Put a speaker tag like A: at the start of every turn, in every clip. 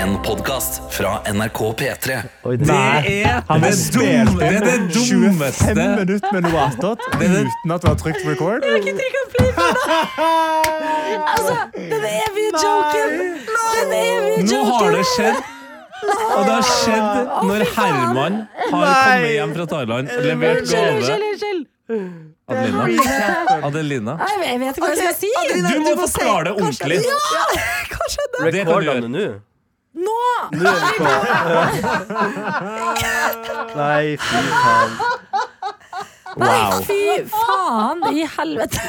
A: En podkast fra NRK P3.
B: Oi,
C: Det er
B: Han
C: det,
B: spilte
C: dum, det, er det
B: inn 25
C: dummeste
B: minutter med noe attåt uten at du har trykt record.
D: Altså, den evige joken! Den evige
C: Nå har det
D: joken!
C: skjedd. Og det har skjedd når Herman har kommet hjem fra Thailand og levert
D: Unnskyld,
C: gave.
D: unnskyld, unnskyld.
C: Adelina. Adelina.
D: Nei, Jeg vet ikke hva jeg skal si.
C: Du må forklare det ordentlig.
D: Ja, hva skjedde?
C: Det kan du
E: Rekordene
C: gjøre.
E: nå.
D: Nå!
E: Nå er vi på.
B: Nei, fy faen.
D: Nei, fy faen i helvete.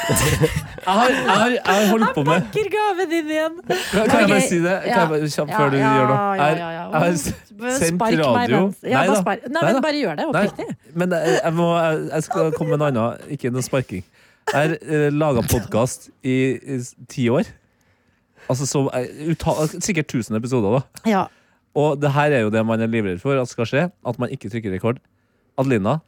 C: Jeg har, jeg har, jeg har holdt på med
D: Pakker gaven din igjen.
C: Kan kan jeg bare
D: Ok,
C: si det? Kan jeg bare, kjapt
D: ja,
C: før du
D: ja,
C: gjør noe?
D: ja,
C: Jeg-
D: ja, ja.
C: Jeg har s-
D: Bare
C: sendt
D: spark meg
C: radio
D: mens- Ja, bare
C: da.
D: spark. Nei,
C: Nei
D: men
C: da.
D: bare gjør det
C: Nei,
D: oppriktig.
C: men jeg, jeg, må, jeg, jeg skal komme med en annen, ikke noe sparking. Jeg har eh, laga podkast i, i s- ti år. Altså som eh, uta- Sikkert 1000 episoder, da.
D: Ja.
C: Og det her er jo det man er livredd for at skal skje. At man ikke trykker rekord. Adelina,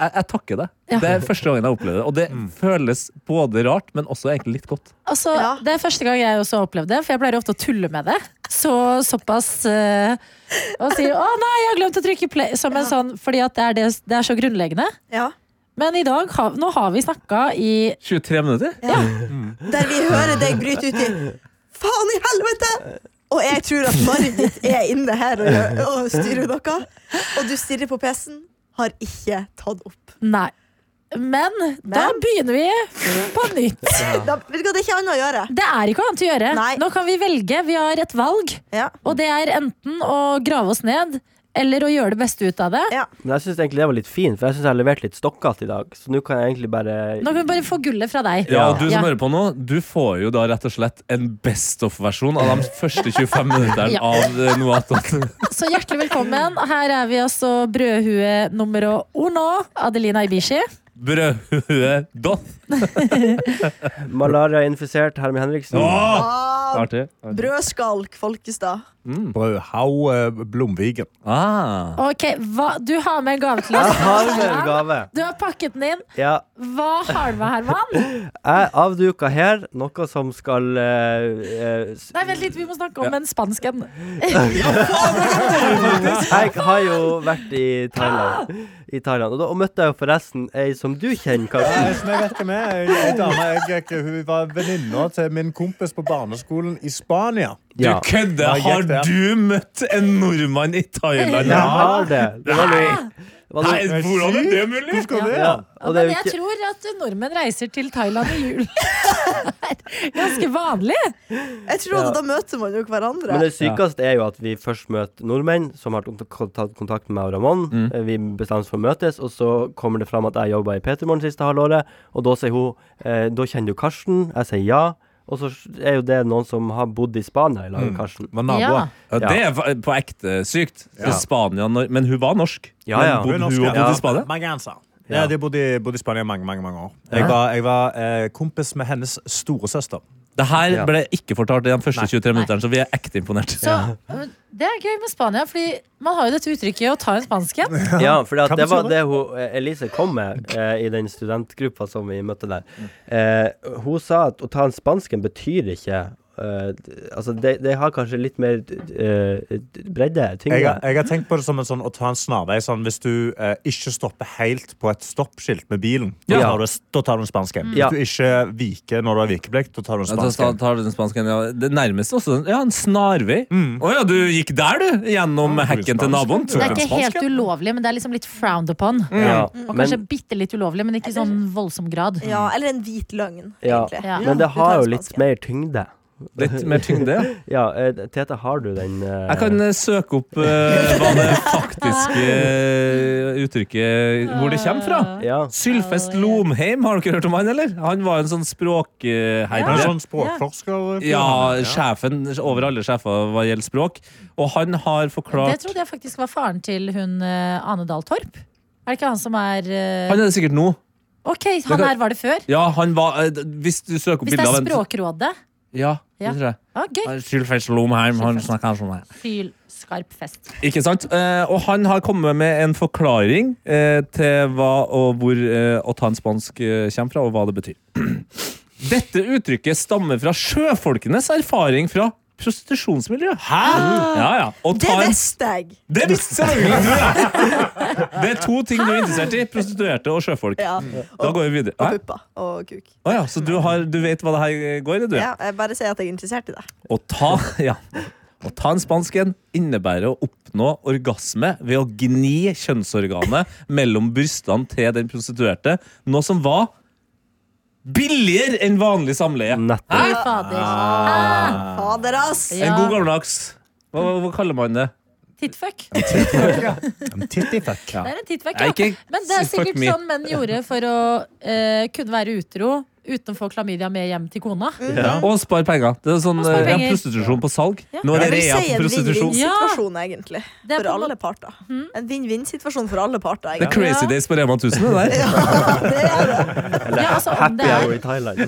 C: jeg, jeg takker deg.
D: Ja.
C: Det er første gangen jeg opplever det. Og det føles både rart, men også egentlig litt godt.
D: Altså, Det er første gang jeg også har opplevd det, for jeg pleier ofte å tulle med det. Så såpass eh, Og sier 'Å nei, jeg har glemt å trykke play', som en sånn, fordi at det er, det, det er så grunnleggende.
F: Ja.
D: Men i dag, har- nå har vi snakka i
C: 23 minutter?
F: Der vi hører deg bryte ut i Faen i helvete! Og jeg tror at Marit ditt er inne her og, gjør- og styrer noe. Og du stirrer på PC-en. Har ikke tatt opp.
D: Nei. Men, da
F: Men?
D: begynner vi på nytt.
F: Da, vet du hva, Det er ikke annet å gjøre.
D: Det er ikke annet å gjøre.
F: Nei.
D: Nå kan vi velge. Vi har et valg.
F: Ja.
D: Og det er enten å grave oss ned eller å gjøre det beste ut av det.
F: Ja.
E: Men jeg syns egentlig det var litt fint, for jeg syns jeg har levert litt stokkete i dag. Så nå kan jeg egentlig bare
D: Nå kan vi bare få gullet fra deg.
C: Ja, og du som
D: Ja.
C: hører på nå, du får jo da rett og slett en best of-versjon av de første 25 minuttene
D: Ja.
C: av eh, Noe attåt.
D: Så hjertelig velkommen. Her er vi altså brødhue nummer uno, Adelina Ibishi.
C: Brødhue dot.
E: Malariainfisert Herman Henriksen.
C: Åh!
F: Ah,
C: Artig. artig.
F: Brødskalk Folkestad.
G: Brødhaug eh, Blomviken.
C: Ah.
D: Ok, hva, Du har med en gave til
E: Jeg
D: oss.
E: har med en gave.
D: Du har pakket den inn.
E: Ja.
D: Hva har du med, Herman?
E: Jeg avduka her noe som skal eh, eh, s-
D: Nei, Vent litt, vi må snakke om en spansk en.
E: Jeg har jo vært i Thailand, I Thailand og da og møtte jeg jo forresten ei som du kjenner, Karsten.
B: Jeg vet hvem jeg er. Ei dame jeg- jeg- Hun var venninna til min kompis på barneskolen i Spania.
C: Du
E: Ja.
C: kødder!
B: Ja,
C: Har
B: gjett det.
C: du møtt en nordmann i Thailand?
E: Jeg har det. Det var noe, det var
C: Nei,
E: noe
C: hvordan er det mulig?
B: Husker du det?
E: ja. Og det
D: Men
E: er jo
D: jeg
E: ikke
D: tror at nordmenn reiser til Thailand i jul. Det er Ganske vanlig.
F: Jeg trodde Da møter man jo hverandre.
E: Men det sykeste er jo at vi først møter nordmenn som har tatt tatt kontakt med meg og Ramón. Eh, Vi bestemmer oss for å møtes, og så kommer det fram at jeg jobba i P3morgen siste halvåret. Og da sier hun eh, Da kjenner du Karsten. Jeg sier ja. Og så er jo det noen som har bodd i Spania i lag med Karsten.
G: Var
D: Ja.
G: naboer.
C: Ja, Det er fa- på ekte sykt. Spania, når- men hun var norsk.
E: Ja,
C: Men
E: ja.
C: Bodde
B: Hun er
C: hun
B: norsk,
C: og
B: ja.
C: bodde i Spania?
G: Manganser.
E: Ja.
G: Ja, de bodde i, bodde i Spania i mange mange, mange år. Jeg var, jeg var eh, kompis med hennes storesøster.
C: Det her
E: Ja.
C: ble ikke fortalt i de første
G: Nei.
C: 23 minuttene, så vi er ekte imponert.
D: Så men det er gøy med Spania, fordi man har jo dette uttrykket å ta en spansk en.
E: Ja, for
G: Hva
E: det
G: betyr
E: var
G: det?
E: det hun, eh, Elise kom med eh, i den studentgruppa som vi møtte der.
G: Mm.
E: Eh, hun sa at å ta en spansken betyr ikke eh, d- altså, det, det har kanskje litt mer eh, bredde,
G: Jeg,
E: tyngde.
G: har- jeg har tenkt på det som en sånn, å ta en snarvei. Sånn, hvis du eh, ikke stopper helt på et stoppskilt med bilen,
E: Ja.
G: da, tar du, da tar du en spansk en.
E: Ja.
G: Hvis du ikke viker når du har vikeplikt, da tar du en
C: Mm. Ja, da
G: spansk
C: tar-
G: en.
C: tar du den spansken, ja. Det nærmeste også ja, en snarvei. Å ja, du gikk der, du! Gjennom
G: Ja,
C: hekken til
G: spansk.
C: naboen.
D: Det
C: Tok
D: er
C: en
D: ikke
C: spansk,
D: helt ulovlig, men det er liksom litt frowned upon.
E: Ja,
D: Mm. Og
E: men-
D: kanskje bitte litt ulovlig, men ikke i sånn voldsom grad.
F: Ja, eller en hvit løgn,
E: Ja,
F: egentlig.
D: Ja.
E: men det
F: Du tar
E: har jo
F: en
E: litt
F: spanske.
E: mer tyngde.
C: Litt mer tyngde. ja.
E: Ja, eh, Tete, har du den? eh,
C: Jeg kan eh, søke opp eh, hva det faktiske eh, uttrykket Hvor det kommer fra.
E: Ja.
C: Sylfest Lomheim, har dere hørt om han, eller? Han var en sånn
G: Han er
C: språkherre.
G: sånn språkforsker. eh,
C: Ja, sjefen over alle sjefer hva gjelder språk. Og han har
D: Det
C: forklart
D: trodde jeg faktisk var faren til hun eh, Ane Dahl Torp. Er det ikke han som er eh,
C: Han er det sikkert nå.
D: Ok, han her var det før.
C: Ja, han var eh, d- Hvis du søker opp
D: Hvis det
C: bilde av
D: er
C: en
D: Språkrådet.
C: Ja,
D: Ja.
C: det tror jeg.
D: Ja, gøy.
C: Sylfest Lomheim, han
D: Sylfest.
C: snakker sånn her.
D: Fyl, skarp fest.
C: Ikke sant? Eh, og han har kommet med en forklaring eh, til hva og hvor eh, å ta en spansk eh, kommer fra, og hva det betyr. Dette uttrykket stammer fra sjøfolkenes erfaring fra prostitusjonsmiljø. Hæ? Ja, ja. Og
F: Det
C: ta en,
F: visste jeg!
C: det visste selvfølgelig du! ja. Det er to ting du er interessert i. Prostituerte og sjøfolk.
F: Ja.
C: Da går vi videre.
F: Og
C: Hæ?
F: pupper og kuk.
C: Å ja, så du, har, du vet hva det her går i, du?
F: Ja, jeg bare sier at jeg er interessert i det.
C: Å ta, ja. å ta en spansk en innebærer å oppnå orgasme ved å gni kjønnsorganet mellom brystene til den prostituerte, noe som var billigere enn vanlig samleie.
E: Nettopp.
D: Fy fader.
F: Fader, ass!
D: Ja.
C: Ah! En god gammeldags hva, hva kaller man det?
D: Tittfuck.
B: Tittifuck.
D: Det er en tittfuck,
C: Nei,
D: ja.
C: ikke
D: Men det er
C: fuck
D: sikkert
C: me.
D: sånn menn gjorde for å eh, kunne være utro uten å få klamydia med hjem til kona.
C: Og spar penger. Det er sånn
D: Og spar
C: eh, ja,
D: penger.
C: prostitusjon på salg.
D: Ja.
C: Nå er det
F: Jeg vil
C: rea
F: si
C: på
F: en
C: prostitusjon.
F: vinn-vinn-situasjon, egentlig.
D: Det er
F: For
D: på en Mhm.
F: alle parter. En vinn-vinn-situasjon for alle parter.
C: Det er
F: egentlig.
C: crazy
D: Ja.
C: days på Rema 1000. Det der.
F: Det er det.
D: måte- Ja, altså, om
E: Happy
D: det
E: hour
D: er.
E: i Thailand.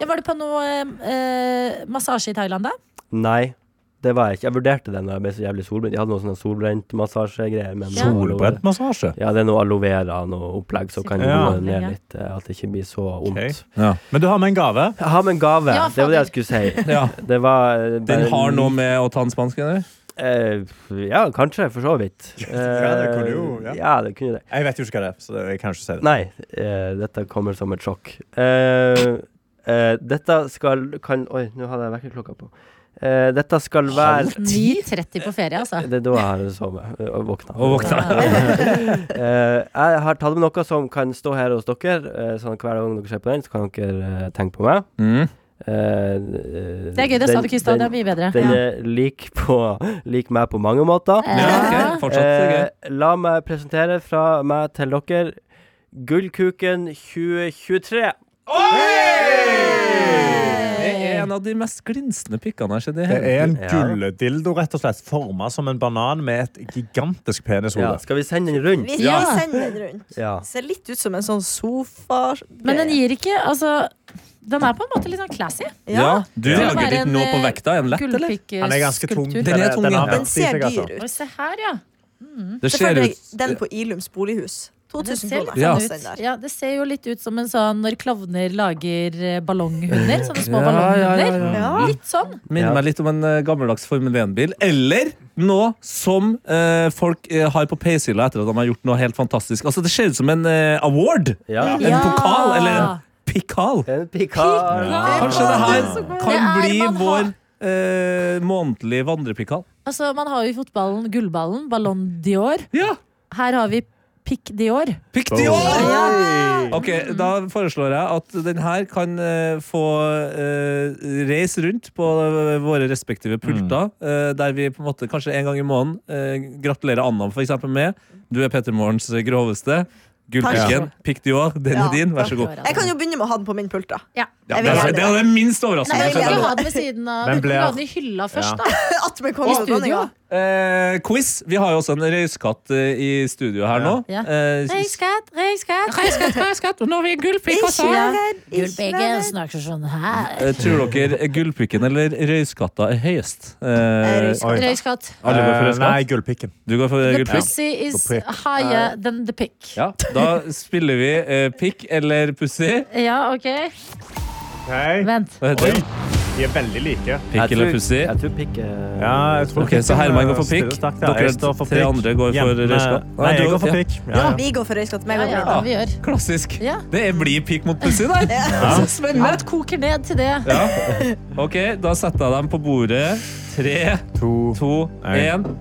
D: Ja, var du på noe eh, massasje i Thailand, da?
E: Nei, det var jeg ikke. Jeg vurderte det når jeg ble så jævlig solbrent. Jeg hadde noe sånn solbrentmassasjegreier. men-
D: Ja.
B: Solbrentmassasje.
E: Ja, det er noe aloe vera og opplegg som kan
B: Ja.
E: roe ned litt, eh, at det ikke blir så vondt.
B: Ok. Men du har med en gave.
E: Jeg har med en gave.
D: Ja,
E: det var det jeg skulle si.
C: Ja.
E: Det var eh,
C: Den
E: bare-
C: har noe med å ta en spansk en å gjøre.
E: Eh, ja, kanskje, for så vidt.
B: Ja, det kunne jo, ja.
E: Eh, det kunne det.
B: Jeg vet jo ikke hva det er, så det- jeg kan ikke si det.
E: Nei, eh, dette kommer som et sjokk. Eh, eh, dette skal kan Oi, nå hadde jeg vekkerklokka på. Eh, dette skal være
D: 9.30 på ferie, altså.
E: Det er da jeg har sovet eh, og våkna.
C: Og våkna.
E: Eh, jeg har tatt med noe som kan stå her hos dere, eh, sånn at hver gang dere ser på den, så kan dere eh, tenke på meg. Eh,
C: Mm.
D: Det er gøy, det sa du ikke i stad. Det er
E: Den,
D: mye bedre.
E: den er lik, på, lik meg på mange måter.
C: Ja, ok.
D: Ja.
C: Fortsatt gøy.
E: Eh, la meg presentere fra meg til dere Gullkuken 2023.
D: Eh.
C: Det er en av de mest glinsende pikkene jeg har sett i
B: Det
C: hele
B: er en
E: Ja.
B: gulledildo, rett og slett, forma som en banan med et gigantisk
E: Ja,
B: penishode.
E: skal vi sende den rundt?
F: Vi,
D: Ja.
F: vi sender den rundt.
E: Ja.
F: Ser litt ut som en sånn sofa...
D: Men den gir ikke Altså, den er på en måte litt sånn classy.
F: Ja.
C: Du
D: Det
C: lager
D: er
C: ikke
D: en,
C: noe på
D: eh,
C: vekta? Er den lett, eller?
D: gullpikk- eh,
B: Den er ganske tung.
D: skulptur.
C: Den er tung, ja.
B: har
F: Den
B: vent i
F: ser
B: seg, altså.
F: dyr ut.
D: Oi, se her, ja.
C: Det
F: Se for
C: ser
F: deg
C: ut
F: den på Ilums bolighus.
D: Det
F: 2000
D: ser, litt
F: kroner.
C: Ja.
D: sånn
F: koster den
D: ut.
F: der.
D: ja, det ser jo litt ut som en sånn når klovner lager eh, ballonghunder. Sånne små
C: Ja, ja, ja,
D: ballonghunder.
F: Ja.
D: Litt sånn.
C: Minner
E: Ja.
C: meg litt om en eh, gammeldags Formel 1-bil. Eller noe som eh, folk eh, har på peishylla etter at de har gjort noe helt fantastisk. Altså, det ser ut som en eh, award!
E: Ja.
C: En
D: Ja.
C: pokal, eller en pikal.
E: En pikar.
C: Kanskje det her
D: Det
C: kan
D: er
C: bli
D: man har-
C: vår eh, månedlige vandrepikal.
D: Altså, man har jo i fotballen gullballen, Ballon Dior.
C: Ja!
D: Her har vi Pic Dior.
C: Pikk Dior!
E: Oi.
C: Ok, Da foreslår jeg at den her kan eh, få eh, reise rundt på eh, våre
B: Mm.
C: respektive pulter, eh, der vi på en måte kanskje en gang i måneden eh, gratulerer Anna for eksempel med Du er Petter Morgens groveste. Gullpikken. Pikk Dior, den
F: Ja,
C: er din. Vær så god.
F: Jeg kan jo begynne med å ha den på min pult, da.
D: Ja.
C: Ja, det,
F: Jeg vil
C: er,
F: gjerne
C: det er
F: det.
C: det minst
D: Nei,
C: overraskende.
D: vi
C: jeg
D: kan jo
C: skjønner.
D: ha den ved siden
B: Men
D: av. Vi kan jo
B: ble-
D: ha den i hylla først,
B: Ja.
D: da.
F: Attmed kongen og dronninga.
D: studio.
C: Eh, quiz. Vi har jo også en røyskatt eh, i studio her nå.
D: Ja.
C: Eh,
D: Reiskatt, reiskatt, reiskatt, reiskatt. Og nå har vi gullpikk
F: Ikke redd, ikke
D: Gullpikken
F: redd.
D: snakker sånn her.
C: eh, tror dere gullpikken eller røyskatta er høyest? Eh,
F: Røyskatt. Oi.
D: Reiskatt.
C: alle går for
B: Eh, Nei,
C: røyskatt?
B: gullpikken.
C: Du går for
D: The
C: gullpikk?
D: pussy is
B: pikk.
D: higher than the pick.
C: Ja, da spiller vi eh, pikk eller pussy.
D: Ja, OK.
B: Okay.
D: Vent.
C: Hva heter det?
B: De er veldig like.
E: Jeg
C: Pikk eller
E: tror-
C: pussy.
E: Jeg tror pikk eh,
B: Ja, jeg tror
C: Ok, Så
B: pikken,
C: Herman går
B: eh,
C: for pikk.
B: stiller sterkt der.
C: Dere
B: Jeg står for
C: tre
B: pikk.
C: andre går for
B: Jentene-
C: røyskatt.
B: Nei, jeg
C: du-
B: går for
C: ja.
B: pikk. Ja, ja.
F: Vi går for røyskatt. Meg
D: Ja,
F: og
D: ja,
F: Mina.
D: vi gjør.
C: Klassisk.
D: Ja.
C: Det er blid pikk mot pussy der.
D: Men alt koker ned til det.
C: Ok, da setter jeg dem på bordet. Tre,
B: To.
C: to,
B: Nei.
C: én.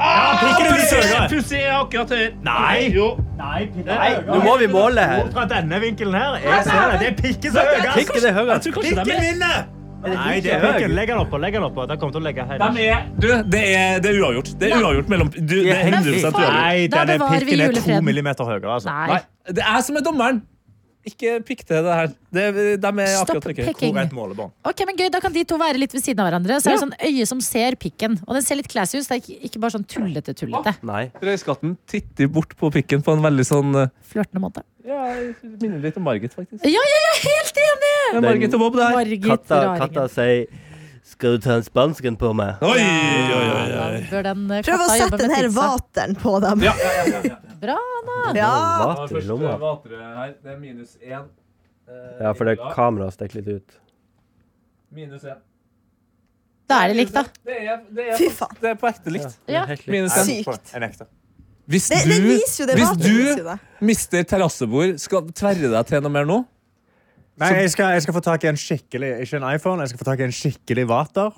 B: Pikken er litt høyere.
C: Pussy er akkurat høyere.
B: Nei! Nei,
E: Nå må vi måle her.
B: Fra denne vinkelen her. Jeg ser det. Det er pikken som er høyest.
E: Pikken er høyere.
C: Jeg tror kanskje de er
B: vinner! Nei, det er pikken. Legg den oppå. legg den oppå. Den kommer til å legge hele.
C: De er, du, det er, det er uavgjort. Det er uavgjort mellom du, Det er 100 uavgjort.
B: Nei,
D: Da
B: denne
D: bevarer vi
B: pikken er to
D: julefreden.
B: millimeter høyere. Altså.
D: Nei.
C: Nei, det er som er dommeren. Ikke pikk til det her. Det, de er
D: Stopp
C: akkurat like.
D: picking.
B: Hvor er et målebånd?
D: Ok, men gøy, Da kan de to være litt ved siden av hverandre. Så er det sånn øye som ser pikken. Og den ser litt classy ut, så det er ikke- ikke bare sånn tullete, tullete.
E: Nei.
C: Røyskatten titter bort på pikken på en veldig sånn eh,
D: Flørtende måte.
C: Ja, jeg minner litt om Margit, faktisk.
D: Ja, jeg er helt enig!
C: Det er Margit og Bob, det her.
D: Margit
E: Katta, katta
D: Raringen.
E: sier 'Skal du ta en spansken på meg?'
C: Oi, oi, oi,
D: Ja,
C: oi.
D: da bør den eh,
F: Prøv å
D: katta
F: sette
D: jobbe med
F: den her
D: tidsa.
F: vateren på dem.
C: Ja.
D: Bra, Anna.
F: Ja.
E: Mat i lomma.
C: Det er minus eh, én.
E: Ja, for det kameraet stikker litt ut.
C: Minus én.
D: Da er det likt, da.
C: Det er, det
F: Fy faen.
C: det er på ekte likt.
D: Ja.
E: Helt likt.
C: Minus en.
F: Sykt.
G: Jeg nekter.
C: Hvis
F: Det, det viser jo
C: du,
F: det
C: hvis
F: maten viser jo
C: du
F: det.
C: mister terrassebord, skal tverre deg til noe mer nå?
B: Nei, jeg skal, jeg skal få tak i en skikkelig Ikke en iPhone, jeg skal få tak i en skikkelig vater.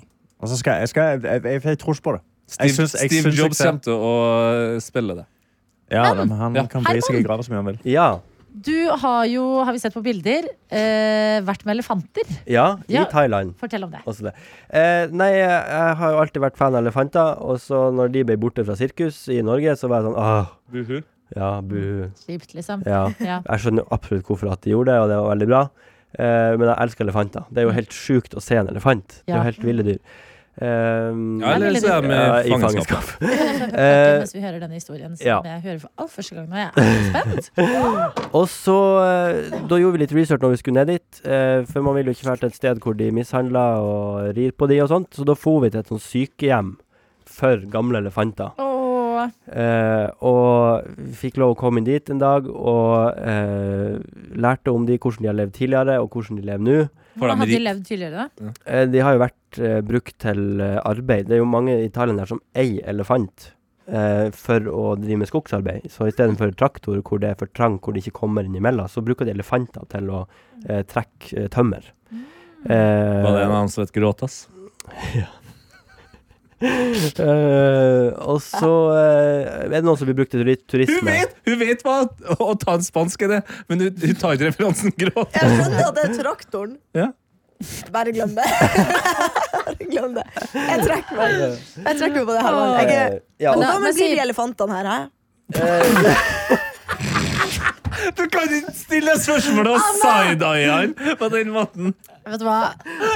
B: Og så skal jeg, jeg, skal, jeg, jeg, jeg, jeg tror ikke på det. Jeg
C: Steve,
B: syns- jeg
C: Steve
B: syns
C: Jobs
B: ikke-
C: kommer til å eh, spille det.
B: Ja, men han
C: Ja.
B: kan bli seg i grava så mye han vil.
E: Ja.
D: Du har jo, har vi sett på bilder, eh, vært med elefanter.
E: ja. I
D: Ja.
E: Thailand.
D: Fortell om det.
E: Også det. Eh, nei, jeg, jeg har jo alltid vært fan av elefanter, og så når de ble borte fra sirkus i Norge, så var jeg sånn ah, ja, buhu.
D: Kjipt, liksom.
E: Ja.
D: Ja.
E: Jeg skjønner jo absolutt hvorfor at de gjorde det, og det var veldig bra. Eh, men jeg elsker elefanter. Det er jo helt sjukt å se en elefant. Det er
D: Ja.
E: jo helt ville dyr. Eh,
C: Ja, eller så er de
E: Ja,
C: i fangenskap.
D: Takk mens vi hører denne historien som
E: Eh, ja.
D: jeg hører for aller første gang nå. Jeg er så spent.
E: Og så eh, Da gjorde vi litt research når vi skulle ned dit. eh, For man ville jo ikke vært et sted hvor de mishandler og rir på de og sånt. Så da for vi til et sånt sykehjem for gamle elefanter.
D: Åh.
E: Eh, og vi fikk lov å komme inn dit en dag og eh, lærte om de hvordan de har levd tidligere, og hvordan de lever nå.
C: For
D: Hvordan
C: de
D: hadde de
C: rik-
D: levd tidligere, da?
E: Eh, de har jo vært eh, brukt til eh, arbeid. Det er jo mange i Thailand her som eier elefant eh, for å drive med skogsarbeid. Så istedenfor traktor hvor det er for trangt, hvor det ikke kommer innimellom, så bruker de elefanter til å eh, trekke eh, tømmer.
F: Mm.
E: Eh,
C: Var det en annen som het Gråtass?
E: eh, og så eh, er det noen som blir brukt til turi- turisme.
C: Hun vet, hun vet hva å ta en spansk er det, men hun, hun tar ikke referansen gråt.
F: Jeg skjønner at det er traktoren.
C: Ja.
F: Bare glem det. Bare glem det. Jeg trekker meg. Jeg trekker meg på det her. valget. Jeg er
E: Eh, ja,
F: Hvor
D: Men da- men
F: gammel blir
D: sier-
F: de elefantene her? Hæ?
C: Du kan ikke stille spørsmål og
F: Ah,
C: side-eye han på den måten.
D: Vet du hva?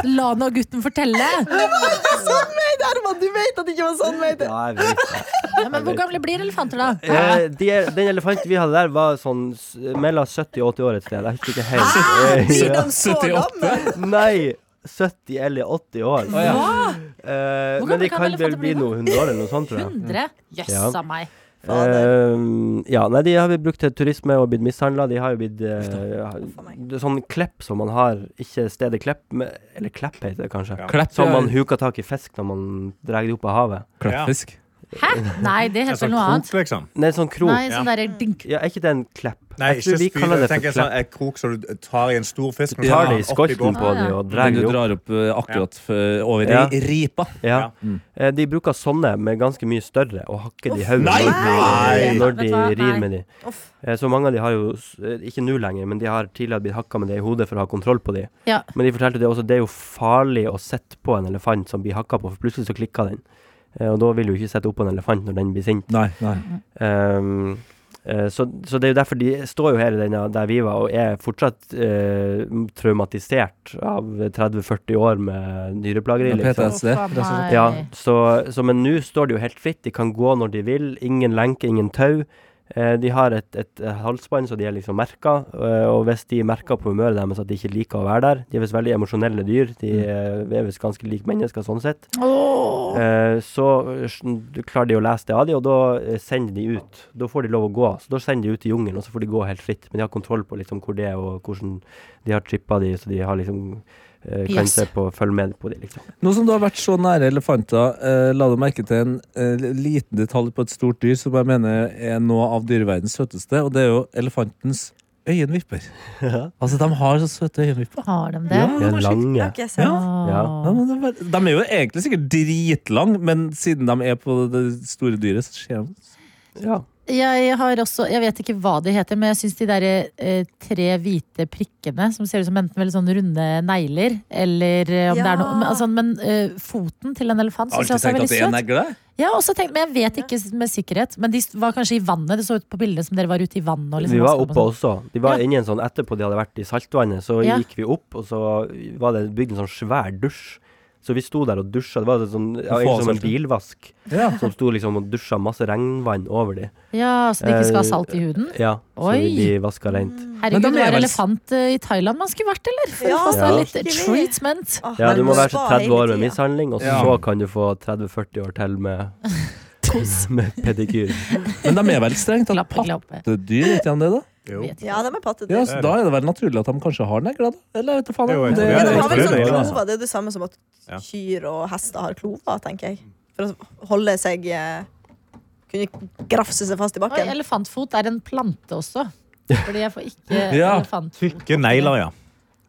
D: La nå gutten fortelle!
F: Sånn mente jeg, Herman! Du vet at det ikke var sånn mente!
E: ja, jeg vet.
D: Ja, men hvor gamle blir elefanter, da? Ah,
E: Eh, de, den elefanten vi hadde der, var sånn s- mellom 70 og 80 år et sted. Jeg husker ikke helt.
F: Blir
E: Eh,
F: de så
C: 78?
F: gamle?
E: Nei! 70 eller 80 år.
D: Hva?
E: Eh,
D: Hvor
E: men de
D: gammel kan
E: kan vel
D: elefanter bli
E: bli
D: da?
E: noe 100 år eller noe sånt, tror jeg.
D: 100? Jøss
E: Ja.
D: a meg.
E: Eh, ja, nei, de har blitt brukt til turisme og blitt mishandla. De har jo blitt eh, ha- det er Sånn klepp som man har, ikke stedet Klepp, men, eller Klepp heter det kanskje.
C: Klepp,
E: Som
C: ja.
E: man huker tak i fisk når man drar det opp av havet.
C: Klappfisk.
D: Hæ? Nei, det
G: En
D: heter
G: sånn
B: Altså,
D: vel noe annet.
G: krok, liksom.
E: Nei, sånn krok.
D: Nei, sånn derre dink.
E: Ja, er ikke det en Klepp?
G: Nei,
E: jeg
G: ikke
E: tror vi
G: spyd.
E: kaller
G: Jeg
E: det for
G: tenker sånn
E: Klepp.
B: eh,
G: en krok som du tar i en stor fisk.
E: Du
G: men
E: tar
G: tar
E: det i
G: den opp i
E: skolten på
D: båten.
E: det og
C: Den
E: drar
C: du
E: det opp.
C: drar opp eh, akkurat f- over
E: Ja.
C: i ripa.
E: Ja.
D: Mm.
E: Eh, De bruker sånne med ganske mye større og hakker de i hodet
G: nei!
E: når de-
D: Nei!
E: når de
D: Vet du hva?
E: rir
D: Nei.
E: med de. Eh, Så mange av de har jo, s- eh, ikke nå lenger, men de har tidligere blitt hakka med det i hodet for å ha kontroll på de.
D: Ja.
E: Men de fortalte det også, det er jo farlig å sitte på en elefant som blir hakka på, for plutselig så klikker den. Eh, Og da vil du ikke sitte oppå en elefant når den blir sint.
C: Nei, nei.
E: Um, eh, så, så det er jo derfor de står jo her i denne, der vi var, og er fortsatt eh, traumatisert av 30-40 år med dyreplageri.
C: Det er sånn.
E: liksom.
C: PTSD.
D: Å, faen meg.
E: Ja, så, så, men nå står det jo helt fritt. De kan gå når de vil. Ingen lenke, ingen tau. Eh, de har et, et halsbånd, så de er liksom merka. Eh, og hvis de merker på humøret deres at de ikke liker å være der De er visst veldig emosjonelle dyr. De eh, er visst ganske like mennesker sånn sett. Eh, så eh, sn- klarer de å lese det av dem, og da eh, sender de ut. Da får de lov å gå. Så da sender de ut i jungelen, og så får de gå helt fritt. Men de har kontroll på liksom hvor det er, og hvordan de har chippa de, så de har liksom eh, kan
D: Yes.
E: se på, følge med på de, liksom.
C: Nå som du har vært så nære elefanter, eh, la du merke til en eh, liten detalj på et stort dyr som jeg mener er noe av dyreverdens søteste, og det er jo elefantens øyenvipper. Altså, de har så søte øyenvipper.
D: Har de det?
E: De er
F: Jeg
E: lange.
F: har ikke sett.
E: Ja.
C: Ja, men det er bare- de er jo egentlig sikkert dritlang, men siden de er på det store dyret, så skjer de
E: Ja.
D: Jeg har også, jeg vet ikke hva de heter, men jeg syns de der eh, tre hvite prikkene som ser ut som enten veldig sånn runde negler, eller eh, om det
F: Ja.
D: er noe Men, altså, men eh, foten til en elefant syns jeg også er veldig søt.
C: negle?
D: Jeg har også tenkt, men jeg vet ikke med sikkerhet. Men de var kanskje i vannet. Det så ut på bildene som dere var ute i vannet. Og liksom,
E: Vi var
D: vasket
E: oppe
D: dem og sånn.
E: også. De var
D: Ja.
E: inne i en sånn Etterpå de hadde vært i saltvannet, så
D: Ja.
E: gikk vi opp, og så var det bygd en sånn svær dusj. Så vi sto der og dusja. Det var sånn, ja, egentlig som en bilvask
C: Ja.
E: som sto liksom og dusja masse regnvann over de.
D: Ja, Så de ikke skal ha salt i huden?
E: Ja, så
D: Oi. Mm.
E: de blir vaska rent.
C: Men de
D: Herregud,
C: er
D: det var
C: vel-
D: elefant eh, i Thailand man skulle vært, eller? For
F: Ja,
D: å få seg
E: ja.
D: litt treatment.
F: Åh,
E: Ja,
F: men
E: du må være så
F: spa
E: 30 år
F: hele
E: med
F: tiden.
E: mishandling, og
C: Ja.
E: så kan du få 30-40 år til med med pedikyr.
C: Men de er vel strengt tatt
D: Klapp, klapp.
C: pattedyr, ikke de det, da?
D: Vet ikke.
F: Ja, de er pattedyr.
C: Ja, så Da er det vel naturlig at de kanskje har negler, da? Eller jeg vet da faen.
B: Jo, jeg
C: Det-
B: tror
F: Men de
B: det
F: har vel
B: det er
F: sånn
B: jo det,
F: klover. Det er det samme som at
B: Ja.
F: kyr og hester har klover, tenker jeg. For å holde seg eh, Kunne grafse seg fast i
D: Oi,
F: bakken.
D: elefantfot er en plante også. Fordi jeg får ikke
C: Ja.
D: elefantfot.
B: Tykke negler, ja.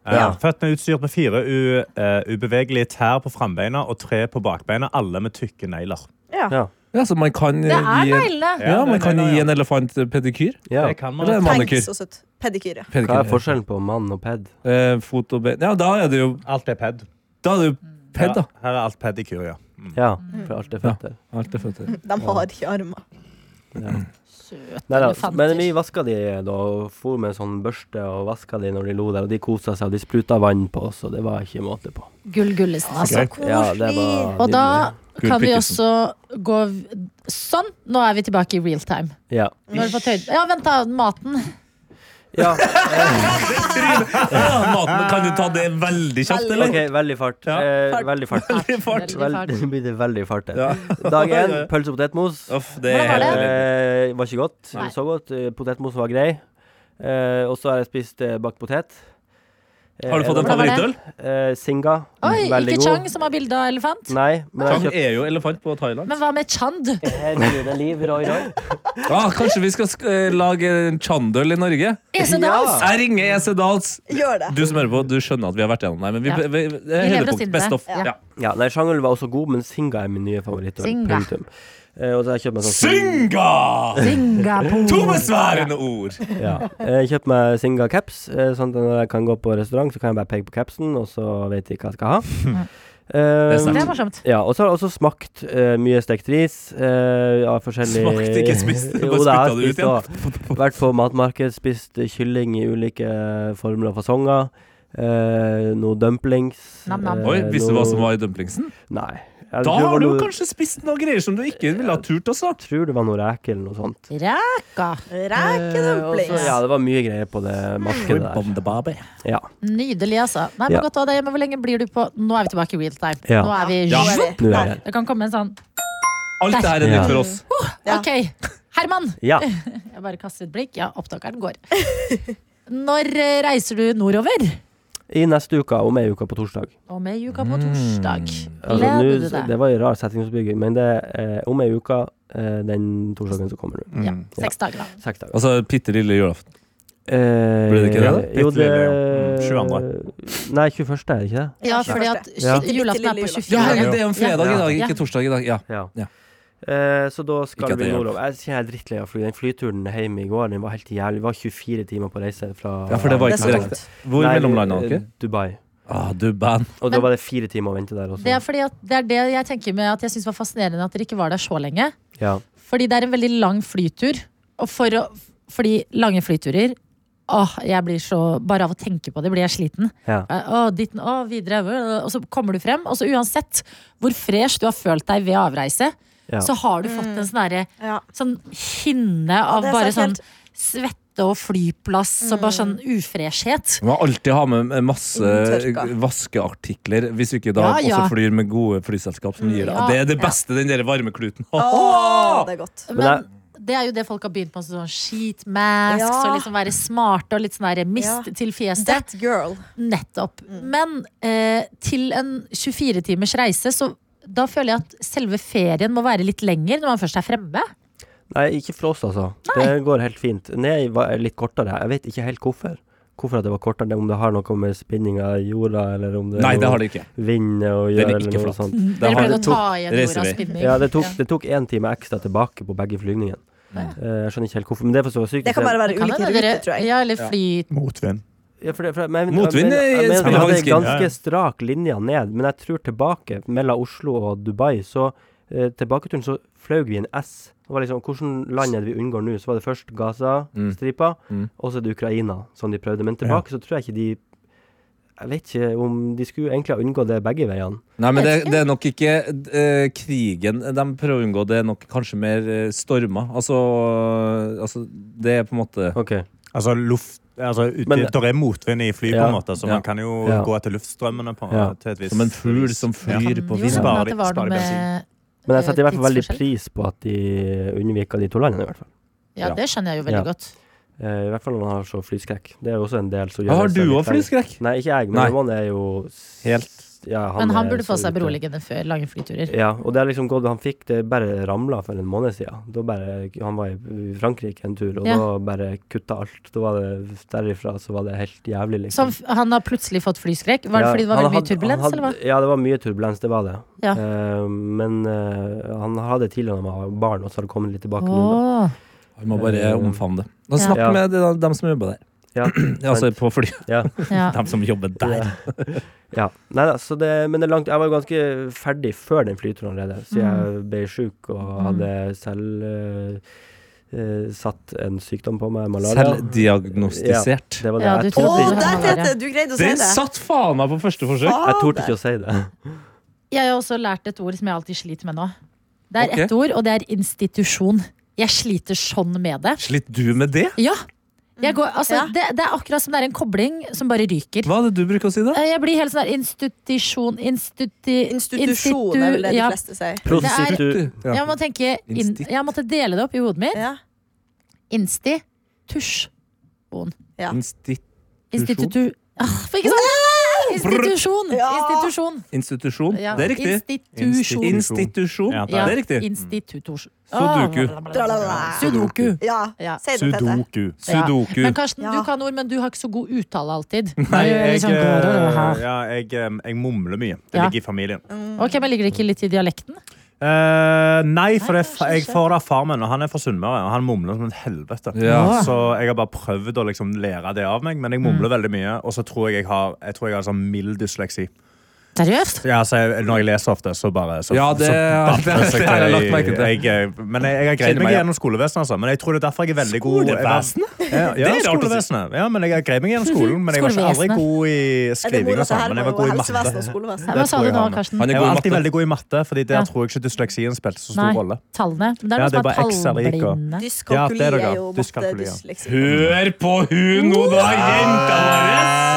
B: Eh,
F: Ja.
B: Føttene er utstyrt med fire u, eh, ubevegelige tær på frambeina og tre på bakbeina, alle med tykke negler.
F: Ja.
E: Ja.
C: Ja, så man kan
D: Det
C: eh,
D: er
C: gi en,
D: neglene!
C: ja,
B: Ja,
C: man
B: det er
C: kan
B: negler,
C: gi
B: ja.
C: en elefant eh, pedikyr?
E: Ja.
B: Det kan
C: Eller
B: man.
C: en
F: Tenk
C: mannekyr?
F: så søtt. Pedikyr, ja.
C: Pedikyr,
E: Hva er
C: ja.
E: forskjellen på mann og ped?
C: Eh, fot og ben Ja, da er det jo
B: Alt er ped.
C: Da er det jo ped, da.
B: Her er alt pedikyr, ja.
E: Ja, for alt er føtter.
C: Alt er føtter.
F: De har ikke armer.
D: Søte
E: Nei da,
D: elefanter.
E: men vi vaska de da, og for med sånn børste og vaska de når de lo der, og de kosa seg, og de spruta vann på oss, og det var ikke måte på.
D: Gull Gullesen, altså.
E: Ja, det var
D: Og da
C: Gull
D: kan vi
C: Pikkesen.
D: også gå Sånn! Nå er vi tilbake i real time.
E: Ja.
D: Nå har du fått høyde. Ja, vent, da. Maten.
E: ja.
C: Ja, maten, kan du ta det veldig kjapt, eller?
E: OK, veldig fart.
C: Ja.
E: Eh, veldig fart.
C: Veldig fart.
E: Vel,
D: Veldig fart.
E: blir det veldig fart her.
C: Ja.
E: Dag én, pølse og potetmos.
C: Uff, det
D: Hvordan var det?
E: Eh, var ikke godt.
D: Nei.
E: Så godt. Eh, Potetmos var grei. Eh, og så har jeg spist eh, bakt potet. Eh,
C: Har du fått en
D: Hvordan var det?
C: favorittøl?
E: Eh, Singa.
D: Oi,
E: veldig
D: ikke Chang
E: god.
D: som har bilde av elefant.
E: Nei, men jeg har
C: Han
E: kjøpt
C: er jo elefant på Thailand.
D: Men hva med Chand?
E: Herregud, liv, roi, roi.
C: Ja, Ah, kanskje vi skal sk eh, lage en chandøl i Norge?
D: Esedals?
C: Jeg ringer EC Dals.
F: Gjør det.
C: Du som hører på, du skjønner at vi har vært gjennom det. Men vi,
D: Ja.
C: vi, vi, det er
D: Vi lever oss
C: høydepunkt.
D: inn i
C: Best
D: det.
C: of. Ja.
E: Ja, nei, Sjangel var også god, men Singa er min nye favoritt.
D: Singa.
E: Punktum. Eh, og så har jeg kjøpt meg sånn
C: Singa! To
D: Singapore.
C: besværende ord.
E: Ja. Eh, Jeg kjøpte meg Singa caps, eh, sånn at når jeg kan gå på restaurant, så kan jeg bare peke på capsen, og så vet jeg hva jeg skal ha. Eh,
C: Det er sant.
D: Det er morsomt.
E: ja, og så har jeg også smakt eh, mye stekt ris eh, av forskjellig
C: Smakt, ikke spist. Bare
E: Jo, det har
C: spyttet
E: jeg
C: det
E: spist også. Vært på matmarked, spist eh, kylling i ulike former og fasonger. Eh, noe dumplings.
D: Nam, nam.
E: eh,
C: Oi, Visste du hva
E: noe-
C: som var i dumplingsen?
E: Nei.
C: Da
E: Jeg tror det var
C: har du
E: noe-
C: kanskje spist noen greier som du ikke ville ha turt, altså.
E: tror det var noe reker eller noe sånt.
D: Ræka.
E: Eh, og
F: Rekedumplings.
E: så- Ja, det var mye greier på det markedet der. Ja.
D: Nydelig, altså. Nei, men
E: Ja.
D: godt å ha deg hjemme. Hvor lenge blir du på Nå er vi tilbake i real time.
E: Ja.
D: Nå er vi
C: Ja.
F: Nå er vi
E: Nå er
F: der.
E: det.
D: Det kan komme en sånn
C: Alt det her er
E: Ja.
C: nytt for oss.
F: Ja.
D: Ok, Herman!
E: ja.
D: Jeg bare kaster et blikk. Ja, opptakeren går. Når eh, reiser du nordover?
E: I neste uke, om ei uke på torsdag.
D: Og med uka på torsdag.
E: Hmm. Altså,
D: Gleder du
E: nå-
D: deg?
E: det var en rar setningsoppbygging, men det er eh, om ei uke eh, den torsdagen som kommer
C: Mm.
E: nå.
D: Ja, seks dager, da.
E: Seks dager.
C: Altså bitte lille julaften.
E: Eh,
C: Blir det ikke det, da?
E: Jo,
B: Bitte
E: det
B: lille, ja. Mm,
E: Nei, 21., er det ikke det?
D: Ja, fordi at
E: Ja.
D: julaften er på 24.
C: Ja, herregud, det er jo en fredag i dag,
D: Ja.
C: ikke torsdag i dag. Ja.
E: Ja.
C: Ja.
E: Eh, så da
C: Ikke
E: skal
C: at
E: vi
C: det hjelper.
E: nordover. Jeg kjenner jeg er drittlei av å fly. Den flyturen hjemme i går den var helt jævlig. Vi var 24 timer på reise fra
C: Ja, for det var
F: Det er
C: ikke
F: så
C: direkte.
F: dumt.
C: Hvor
E: Nei,
C: mellomlanda
E: eh,
C: dere?
E: Dubai.
C: Ah, du band.
E: Og da
D: Men-
E: var det fire timer å vente der også.
D: Det er fordi at det er det jeg tenker med at jeg syns var fascinerende at dere ikke var der så lenge.
E: Ja.
D: Fordi det er en veldig lang flytur. Og for å, fordi lange flyturer Åh, jeg blir så Bare av å tenke på det blir jeg sliten.
E: Ja.
D: Eh, Åh, ditten, åh, videre øh, Og så kommer du frem. Og så uansett hvor fresh du har følt deg ved avreise,
E: Ja.
D: så har du fått en sånn derre
F: Ja.
D: Sånn hinne av
F: Mm. det er
D: bare
F: sant,
D: sånn
F: helt.
D: svette og flyplass og bare sånn
F: Mm.
D: ufreshhet.
C: Man må alltid ha med masse
F: Inntørka.
C: vaskeartikler, hvis du ikke da
D: Ja, ja.
C: også flyr med gode flyselskap som gir deg.
D: Ja,
C: det er det
D: ja.
C: beste, den der varmekluten.
F: Åh, det er godt.
D: Men det er jo det folk har begynt med, sånn sheet masks
F: Ja.
D: og liksom være smarte og litt sånn der mist
F: Ja.
D: til fjeset.
F: That girl.
D: Nettopp.
F: Mm.
D: Men eh, til en 24 timers reise, så da føler jeg at selve ferien må være litt lenger når man først er fremme.
E: Nei, ikke for oss, altså. Det går helt fint. Ned var litt kortere. Jeg vet ikke helt hvorfor. Hvorfor at det var kortere, om det har noe med spinning av jorda, eller om det
C: Nei, det har det ikke.
E: noe vind å
C: Den
E: gjøre,
C: er
E: eller
C: ikke
E: noe
C: flat.
E: sånt.
C: Det
D: Dere
C: har
D: pleide å
C: det.
D: ta igjen
C: reiser
D: jordas
C: vi.
D: spinning.
E: Ja, det tok, det tok en time ekstra tilbake på begge flygningene. Eh, Jeg skjønner ikke helt hvorfor, men det er for så vidt sykt.
F: Det kan bare være
D: Kan
F: ulike
D: hende
F: ruter,
D: dere-
F: tror jeg.
D: Ja, eller fly
B: Motvind.
E: ja, for det, for, jeg- men, jeg-
C: Motvind
E: jeg- jeg-
C: er-
E: jeg-
C: spiller
E: jeg- Det
C: vanskelig.
E: er ganske strak linje ned, men jeg tror tilbake mellom Oslo og Dubai, så eh, tilbaketuren så fløy vi en S. Det var liksom, Hvilket land er det vi unngår nå? Så var det først Gaza-stripa,
C: Mm.
E: og så er det Ukraina, som de prøvde. Men tilbake så tror jeg ikke de Jeg vet ikke om de skulle egentlig ha unngått det begge veiene.
C: Nei, men det, det er nok ikke eh, krigen de prøver å unngå. Det er nok kanskje mer eh, stormer. Altså, altså Det er på en måte
E: Ok.
B: Altså, luft, altså ut,
E: Men-
B: der er motvind i fly, på
E: Ja.
B: en måte, så
C: Ja.
B: man kan jo
E: Ja.
B: gå etter luftstrømmene på,
E: Ja.
B: til et visst
C: som en fugl som
D: Kan
C: flyr
D: jo
C: på
D: hende
C: vinden.
B: Spar-
D: at det var
B: spar
D: noe med-
E: Men jeg setter i hvert fall veldig
D: Tidsforskjell.
E: pris på at de unnvika de to landene, i hvert fall.
D: Ja, det skjønner jeg jo
E: Ja.
D: veldig godt.
E: Eh, I hvert fall når man har så flyskrekk. Det er jo også en del som
C: Ja, har
E: seg
C: du
E: litt
C: òg flyskrekk?
E: Nei, ikke jeg, men
C: Nei.
E: Ramón er jo s- ja,
D: Men han
E: er
D: burde få
E: så
D: seg
E: ute.
D: beroligende før lange flyturer.
E: Ja, og det er liksom gått Han fikk det bare ramla for en måned siden. Da bare, han var i Frankrike en tur, og
D: Ja.
E: da bare kutta alt. Da var det derifra så var det helt jævlig,
D: Så
E: liksom.
D: han, han har plutselig fått flyskrekk? Var det fordi det var veldig
E: han
D: mye
E: hadde-
D: turbulens,
E: han
D: eller hva?
E: hadde- Ja, det var mye turbulens, det var det.
D: Ja.
E: Eh, men eh, han hadde tidligere når han var barn, og så har det kommet litt tilbake nå. da.
D: Åh.
C: Vi må bare omfavne det. Eh, Da
D: Ja.
C: Snakk
E: Ja.
C: med de, dem som jobber der.
E: Ja,
C: Altså på fly.
E: ja.
D: Ja.
C: Dem som jobber der.
E: Ja. Nei da, så det, men det er langt, jeg var jo ganske ferdig før den flyturen allerede, så jeg ble sjuk og hadde selv eh, eh, satt en sykdom på meg, malaria.
C: Selvdiagnostisert.
E: Det var det.
D: Ja, du
F: Å,
E: jeg, torde
D: trodde-
E: ikke,
F: der, Tete! Du greide å si
C: Den
F: det.
C: satt faen meg på første forsøk!
E: jeg torde ikke å si det.
D: Jeg har også lært et ord som jeg alltid sliter med nå. Det er
C: Ok.
D: ett ord, og det er institusjon. Jeg sliter sånn med det.
C: Slitt du med det?
D: Ja! Jeg går, altså,
F: Ja.
D: det, det er akkurat som det er en kobling som bare ryker.
C: Hva er det du bruker å si, da?
D: Eh, Jeg blir helt sånn der institusjon institu,
F: Institusjon er vel det de
D: ja.
F: fleste sier.
E: Prostitu...
C: Ja.
D: Jeg må tenke inn,
C: Instit.
D: Jeg måtte dele det opp i hodet mitt.
F: Ja.
D: Institusjon.
C: Insti-
D: Institutu... Ah, for ikke sant? Institusjon!
F: Ja.
D: Institusjon.
C: Institusjon.
D: Ja.
C: Oh, Det er riktig.
D: Institusjon.
C: Institusjon.
G: Ja,
C: Det
D: Ja.
C: er riktig.
D: Institutors- Ah,
C: Sudoku.
F: Tralala.
D: Sudoku.
F: Ja,
D: Ja.
F: si det, Tete.
G: Sudoku.
C: Sudoku.
D: Men Karsten,
F: Ja.
D: du kan ord, men du har ikke så god uttale alltid.
G: Nei,
D: Du er
G: jeg,
D: litt sånn-
G: eh, ja, jeg, eh, jeg mumler mye. Det
D: Ja.
G: ligger i familien.
D: Mm. Ok, men Ligger det ikke litt i dialekten?
G: Eh, nei, for det, er fa-
D: Nei,
G: jeg
D: kanskje ikke.
G: får det av far min, og han er fra Sunnmøre. Og han mumler som et helvete.
C: Ja.
G: Så jeg har bare prøvd å liksom lære det av meg, men jeg
D: Mm.
G: mumler veldig mye. Og så tror jeg jeg har, jeg tror jeg har sånn mild dysleksi.
D: Seriøst?
G: Ja, så jeg, når jeg leser ofte, så bare så,
C: Ja,
G: så
C: det- det- det
G: balles
C: har jeg
G: til
C: lagt merke til.
G: i- Jeg, eh, men jeg, jeg har greid
C: Kjenner meg
G: meg
C: igjen.
G: gjennom skolevesenet, altså. Men jeg tror det er derfor jeg er veldig god
C: Skolevesenet?
G: Ja,
C: Det
G: ja,
C: er rart å si.
G: skolevesenet. Ja, men jeg har greid meg gjennom skolen. Men jeg var ikke aldri
D: Skolevesenet.
G: god i
F: Er det
G: skriving
F: moro
G: og
F: at det
G: sånn,
F: her
G: men jeg
F: var
G: var
F: jo
G: god i matte.
F: helsevesen og skolevesen?
D: Hva
G: tror
D: sa du
G: jeg
D: nå,
G: han er.
D: Karsten?
C: Han er
G: Jeg
C: god
G: var
C: i
G: alltid
C: matte.
G: veldig god i matte, fordi der
D: Ja.
G: tror jeg ikke dysleksien spilte så
D: Nei.
G: stor rolle.
D: Tallene. Men det er
G: Ja,
D: noe som
G: det er
D: er
G: bare X eller Y,
D: tallblinde.
G: og-
F: Dyskalkuli liksom.
G: Ja, det er det,
F: er
G: ja.
F: jo
G: Dyskalkuli, ja.
F: mattedysleksi.
C: Hør på hun nå, da, jenta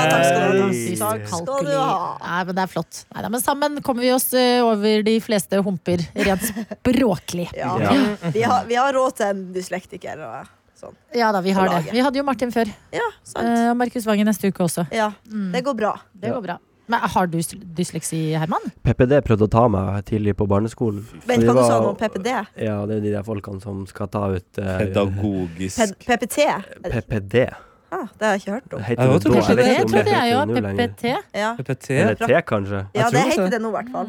F: Takk skal du ha.
D: Dyskalkuli.
F: Takk skal du ha.
D: Nei, men det er flott. Nei, da, men sammen kommer vi oss eh, over de fleste humper, rent språklig.
F: Ja.
E: Ja.
F: Vi, har, vi har råd til en dyslektiker og sånn.
D: Ja da, vi har
F: På
D: det.
F: laget.
D: Vi hadde jo Martin før.
F: Ja, sant.
D: eh, Og Markus Vangen neste uke også.
F: Ja, det går bra.
D: Det går bra. Men har du dys- dysleksi, Herman?
E: PPD prøvde å ta meg tidlig på barneskolen.
F: Vent,
E: Vi
F: hva du sa
E: var-
F: nå? PPD?
E: Ja, det er de der folkene som skal ta ut eh,
C: Pedagogisk.
F: P- PPT? Er-
E: PPD.
F: Ah, det har jeg ikke hørt om.
E: Heter
C: Ja,
E: det
C: jeg tror
E: da?
C: kanskje
E: Jeg vet
D: det
E: ikke om det
D: trodde jeg jo.
E: heter det nå lenger.
D: PPT.
F: Ja,
C: PPT.
E: Eller T, kanskje.
F: ja
C: tror
F: det
C: det
F: heter
C: er-
F: det nå i hvert fall.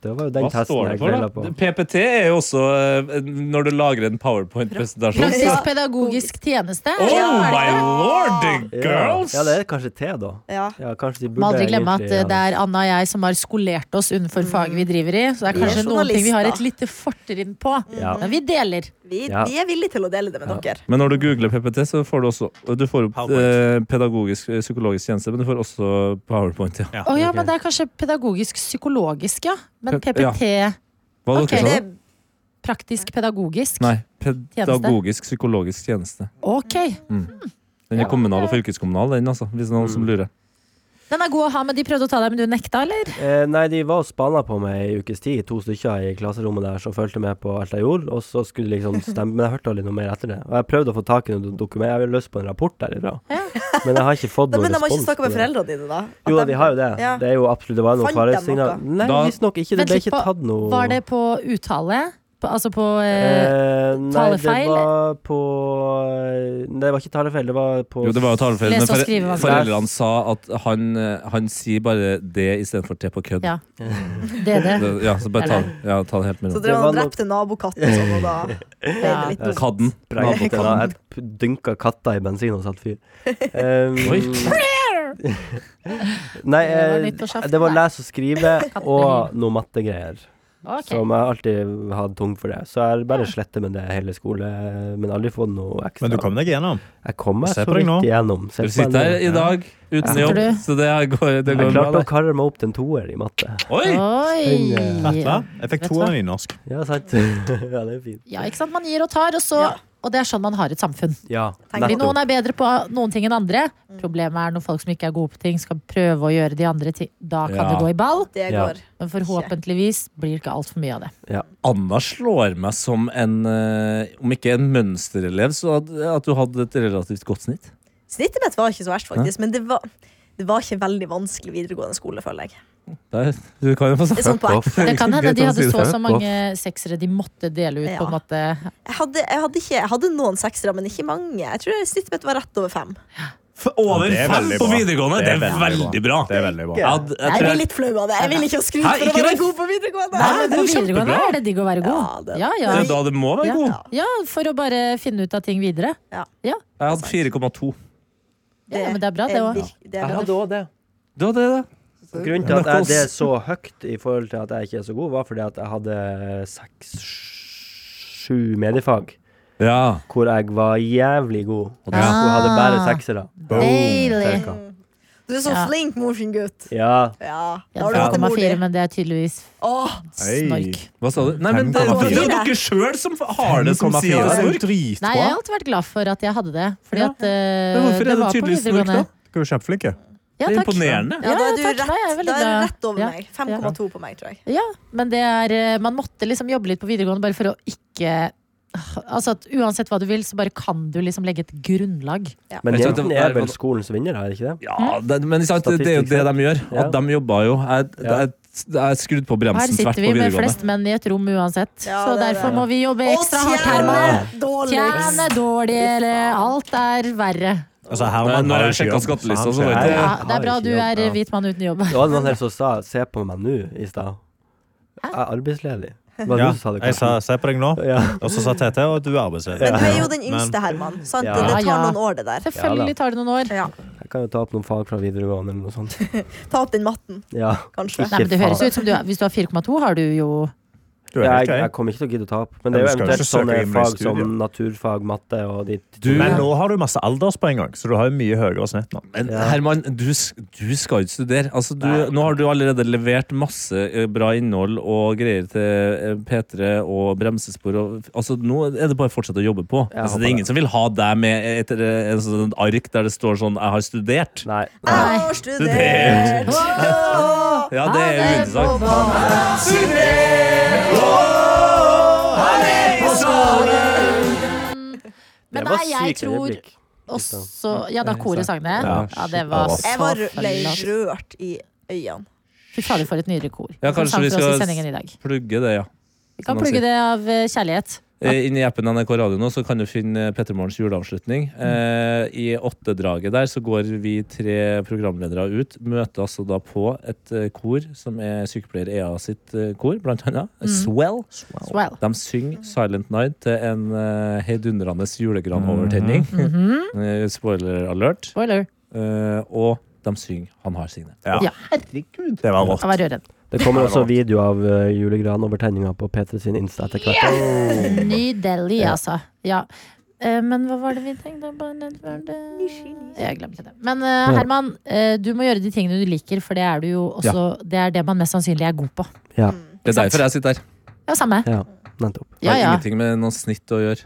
E: Det var jo
C: Hva
E: den testen
C: står det
E: jeg
C: for,
E: feila på.
C: da? PPT er jo også eh, når du lager en powerpoint-presentasjon.
D: Praktisk pedagogisk tjeneste.
C: Oh
D: Ja, er det
C: my
D: det?
C: lord,
E: Ja.
C: girls!
E: Ja, det er kanskje T, da.
F: Ja.
E: Ja, kanskje de
D: Må
E: burde
D: aldri glemme at
E: egentlig-
D: eh,
E: ja.
D: det er Anna og jeg som har skolert oss innenfor faget vi driver i. Så det er
E: Vi er
D: kanskje noen ting vi har et lite
F: journalister.
D: fortrinn på.
E: Ja.
D: Men vi deler.
F: Vi,
E: Ja. Sånn.
F: vi er villige til å dele det med dere.
C: Men når du googler PPT, så får du også Du får opp eh, pedagogisk eh, psykologisk tjeneste, men du får også PowerPoint. Ja.
G: Ja,
D: Å ja,
E: ok.
D: men det er kanskje pedagogisk-psykologisk, ja. Men
C: Pe-
D: PPT
C: Hva dere
D: Ok.
F: Det
C: sa?
F: er
D: praktisk-pedagogisk.
C: Nei. Pedagogisk psykologisk tjeneste.
D: Ok.
C: Den er kommunal og fylkeskommunal, den, altså. Hvis det er noen som lurer.
D: Den er god å ha, men de prøvde å ta deg, men du nekta, eller?
E: Eh, nei, de var og spana på meg i ukes tid, to stykker i klasserommet der som fulgte med på alt jeg gjorde, og så skulle de liksom stemme Men jeg hørte aldri noe mer etter det. Og jeg prøvde å få tak i noe dokument, jeg har lyst på en rapport derifra, men jeg har ikke fått
F: Da,
E: noen
F: men de har ikke
E: respons.
F: snakka
E: på
F: med
E: det.
F: foreldrene dine, da? At
E: Jo, de har jo det.
F: Ja.
E: Det er jo absolutt Det var noen
F: Fant de
E: faresignaler. Nei,
C: Da-
E: visstnok ikke. Det
D: Vent
E: ble
D: litt
E: ikke
D: på-
E: tatt noe
D: Var det på uttale? På, altså på eh,
E: Eh, nei, det
D: talefeil?
E: var på eh, Nei, det var ikke talefeil, det var på
C: Jo, det var jo talefeil,
D: Les
C: men
D: og skrivevansker.
C: fore- foreldrene sa at han, eh, han sier bare det istedenfor T på kødd.
D: Ja. DD?
C: Det- ja, så bare ta, ja, ta det helt med
F: Så
C: ro.
E: Det
F: drev han
E: var
F: og
E: nok-
F: drepte nabokatten og sånn, og da ble det
D: Ja.
F: litt dumt.
C: Kadden.
E: Sprengte
F: Nabokatten.
E: den. Jeg p- dynka katta i bensin og satt fyr. Um,
C: Oi.
E: nei,
D: Det var
E: eh,
D: litt på kjeften
E: det var
D: der.
E: les og skrive og noe mattegreier.
D: Ok.
E: Som jeg alltid hadde tungt for det. Så jeg bare sletter med det hele skole, men aldri fått noe ekstra.
G: Men du kom deg gjennom.
E: Jeg kom meg
G: Se
E: så
G: på deg nå.
E: vidt igjennom.
C: Du
E: Se på meg
C: sitter her
E: nå.
C: i dag uten
D: Ja.
C: jobb, så det her går, det
E: Jeg
C: går bra.
E: klarte å
C: det.
E: karre meg opp til en toer i matte.
C: Oi!
G: Vet du hva?
D: Oi!
B: eh,
G: Jeg fikk
D: Vet du
G: to
D: hva?
G: av i norsk.
E: Ja, sant. ja, det er fint.
D: Ja, ikke sant? Man gir og tar, og så
F: Ja.
D: Og Og det er sånn man har et samfunn.
E: Ja,
F: Tenker
D: Fordi
F: Nettopp.
D: noen er bedre på noen ting enn andre. Problemet er når folk som ikke er gode på ting, skal prøve å gjøre de andre ting. Da kan
C: Ja.
D: det gå i ball.
F: Det
E: Ja.
F: går.
D: Men forhåpentligvis blir det ikke altfor mye av det.
C: Anna slår meg som en, eh, om ikke en mønsterelev, så at, at du hadde et relativt godt snitt.
F: Snittet mitt var ikke så verst, faktisk, men det var, det var ikke veldig vanskelig videregående skole, føler jeg.
C: Der, du kan jo få
F: Det er sånn på ekte.
D: Det kan hende
C: liksom Greit å
D: de
C: si
D: hadde
C: det.
D: så og så
C: Off.
D: mange seksere de måtte dele ut. på en
F: Ja.
D: måte.
F: Jeg hadde, jeg hadde, ikke, jeg hadde noen seksere, men ikke mange. Jeg tror snittet mitt var rett over fem.
C: Over
G: Det er
C: fem
G: veldig
C: på
G: bra.
C: videregående! Det er veldig bra!
G: Det er veldig bra.
C: Jeg hadde- jeg
F: Jeg
C: tror
F: blir
C: jeg-
F: litt flau av det. Jeg vil ikke ha skryt
C: Hæ,
F: for å
C: ikke
F: være
C: det?
F: god på videregående.
D: Nei,
C: Nei,
D: men
C: det
D: på
C: er
D: videregående
C: kjempebra.
D: er det digg å være
F: Ja,
D: god.
F: det-
D: Ja, ja.
C: det er da det må være god.
D: sånn- ja, for å bare finne ut av ting videre.
F: Ja.
C: Jeg hadde 4,2.
D: Ja, men det er bra, det også.
F: virk- det er
E: Jeg
F: bra.
E: hadde òg det.
C: Du hadde det, da?
E: Grunnen til at jeg, det er så høyt i forhold til at jeg ikke er så god, var fordi at jeg hadde seks-sju mediefag
C: Ja.
E: hvor jeg var jævlig god. Og
D: Ja.
E: jeg hadde bare seksere.
D: Deilig.
E: Cirka.
F: Du er så
D: Ja.
F: flink, morsin gutt.
E: Ja.
F: Ja, da har du hatt en mor,
D: 5,4,
F: di.
D: men det er tydeligvis
F: Åh,
D: snork.
C: Hva sa du? Nei, men det, det er jo dere sjøl som har det som
G: 5,4.
C: sier det.
G: Det er jo
C: Snork.
G: dritbra.
D: Nei, jeg har alltid vært glad for at jeg hadde det. Fordi
C: Ja.
D: at eh,
C: Men hvorfor er det
D: var på
C: tydeligvis snork,
D: videregående.
C: da?
G: Dere er jo kjempeflinke.
D: Ja,
C: Det er
D: takk.
C: imponerende.
F: ja, da er
D: Ja,
F: du
D: takk.
F: rett,
D: Nei, jeg er veldig
F: da er du
D: glad.
F: rett over
D: Ja.
F: meg. 5,2 på meg, tror jeg.
D: Ja, men det er eh, Man måtte liksom jobbe litt på videregående bare for å ikke Altså at uansett hva du vil, så bare kan du liksom legge et grunnlag.
E: Men
C: Jeg synes
E: jentene
C: det var-
E: er vel skolens vinner, er det ikke det?
C: Ja,
D: Mm.
C: det, men ikke sant, det det er jo det de gjør. At de jobber jo. Jeg,
E: Ja.
C: jeg, jeg er skrudd på
D: Her
C: bremsen sånn tvert
D: sitter
C: på
D: vi med
C: videregående.
D: flest menn i et rom uansett.
F: Ja,
D: så
F: det er
D: derfor
F: det.
D: må vi jobbe ekstra hardt, Herman.
F: tjene dårligst.
D: Tjene dårligere. Alt er verre.
G: Altså, Herman
C: Når
G: har jo
C: jeg sjekket
G: ikke jobb,
C: skattelista,
G: så han
C: så var
G: skjer.
C: det-
D: Ja,
E: har
D: det er bra
E: ikke
D: du
E: jobb,
D: er
E: ja.
D: hvit mann uten jobb.
E: Det var noen her som sa 'se på meg nå' i stad. Jeg er arbeidsledig. Det Var
G: Ja,
E: du som sa det?
G: jeg sa
E: Karsten?
G: se på deg nå,
E: Ja.
G: og så sa TT og du er arbeidsledig.
F: Men du er jo den
G: Men-
F: yngste, Herman. Sant?
E: Ja.
F: Det tar
D: Ja, ja.
F: noen år, det der.
D: Selvfølgelig tar det noen år.
F: Ja.
E: Jeg kan jo ta opp noen fag fra videregående eller noe sånt.
F: Ta opp den matten,
E: Ja.
F: kanskje.
D: Nei, men det høres ut som du er, Hvis du har 4,2, har du jo
G: Du er
E: Jeg,
G: helt grei.
E: jeg kommer ikke til å gidde å ta opp.
G: Ja,
E: Men det er jo
G: du skal jo
E: eventuelt
G: ikke søke
E: sånne
G: inn i
E: fag
G: studiet.
E: som naturfag, matte og de
C: Du-
G: Men nå har du masse alderspoeng òg, så du har jo mye høyere snitt nå.
C: Men
E: Ja.
C: Herman, du, s- du skal ikke studere. Altså, du, nå har du allerede levert masse eh, bra innhold og greier til eh, P3 og bremsespor. Og, altså, nå er det bare å fortsette å jobbe på.
E: Jeg
C: Altså,
E: håper
C: det er
E: det.
C: ingen som vil ha deg med et, et, et sånt ark der det står sånn 'jeg har studert'.
E: Nei.
D: Nei.
F: Åh, studert! Åh,
C: Ja, det er jo interessant.
E: Det
D: Men
E: var
D: nei, jeg
E: sykt
D: tror
E: øyeblikk.
D: også Ja, da koret sang det.
C: Ja,
D: Ja, det var
C: shit.
D: så
F: Jeg var, ble
D: flott.
F: rørt i øynene.
D: Fy fader, for et nydelig kor.
C: Ja,
D: Som
C: kanskje vi
D: sang for oss i
C: skal-
D: sendingen i dag.
C: Plugge det, ja.
D: Vi kan plugge det av eh, kjærlighet.
C: Eh, Inni appen NRK Radio nå så kan du finne Pettermorgens juleavslutning. Eh, I åttedraget der så går vi tre programledere ut. Møter altså da på et eh, kor som er sykepleier EA sitt eh, kor, blant annet. Swell.
D: Mm. Swell.
C: De synger Silent Night til en eh, heidundrende
D: Mm.
C: julegranovertenning. Eh, Spoiler alert.
D: Mhm. Spoiler.
C: Eh, og de synger Han har sine.
D: Ja,
G: Det var rått.
D: jeg var rødredd.
E: Det kommer også video av uh, julegranovertenninga på P3 sin Insta etter hvert.
D: Nydelig, altså. Ja. Eh, Men hva var det vi tenkte på? Det var det- Jeg glemte det. Men eh, Herman, eh, du må gjøre de tingene du liker, for det er du jo også Det er det man mest sannsynlig er god på.
E: Ja,
C: Det er derfor jeg sitter her.
D: Ja, samme.
E: ja, nettopp.
C: Det har
D: Ja, ja.
C: ingenting med noe snitt å gjøre.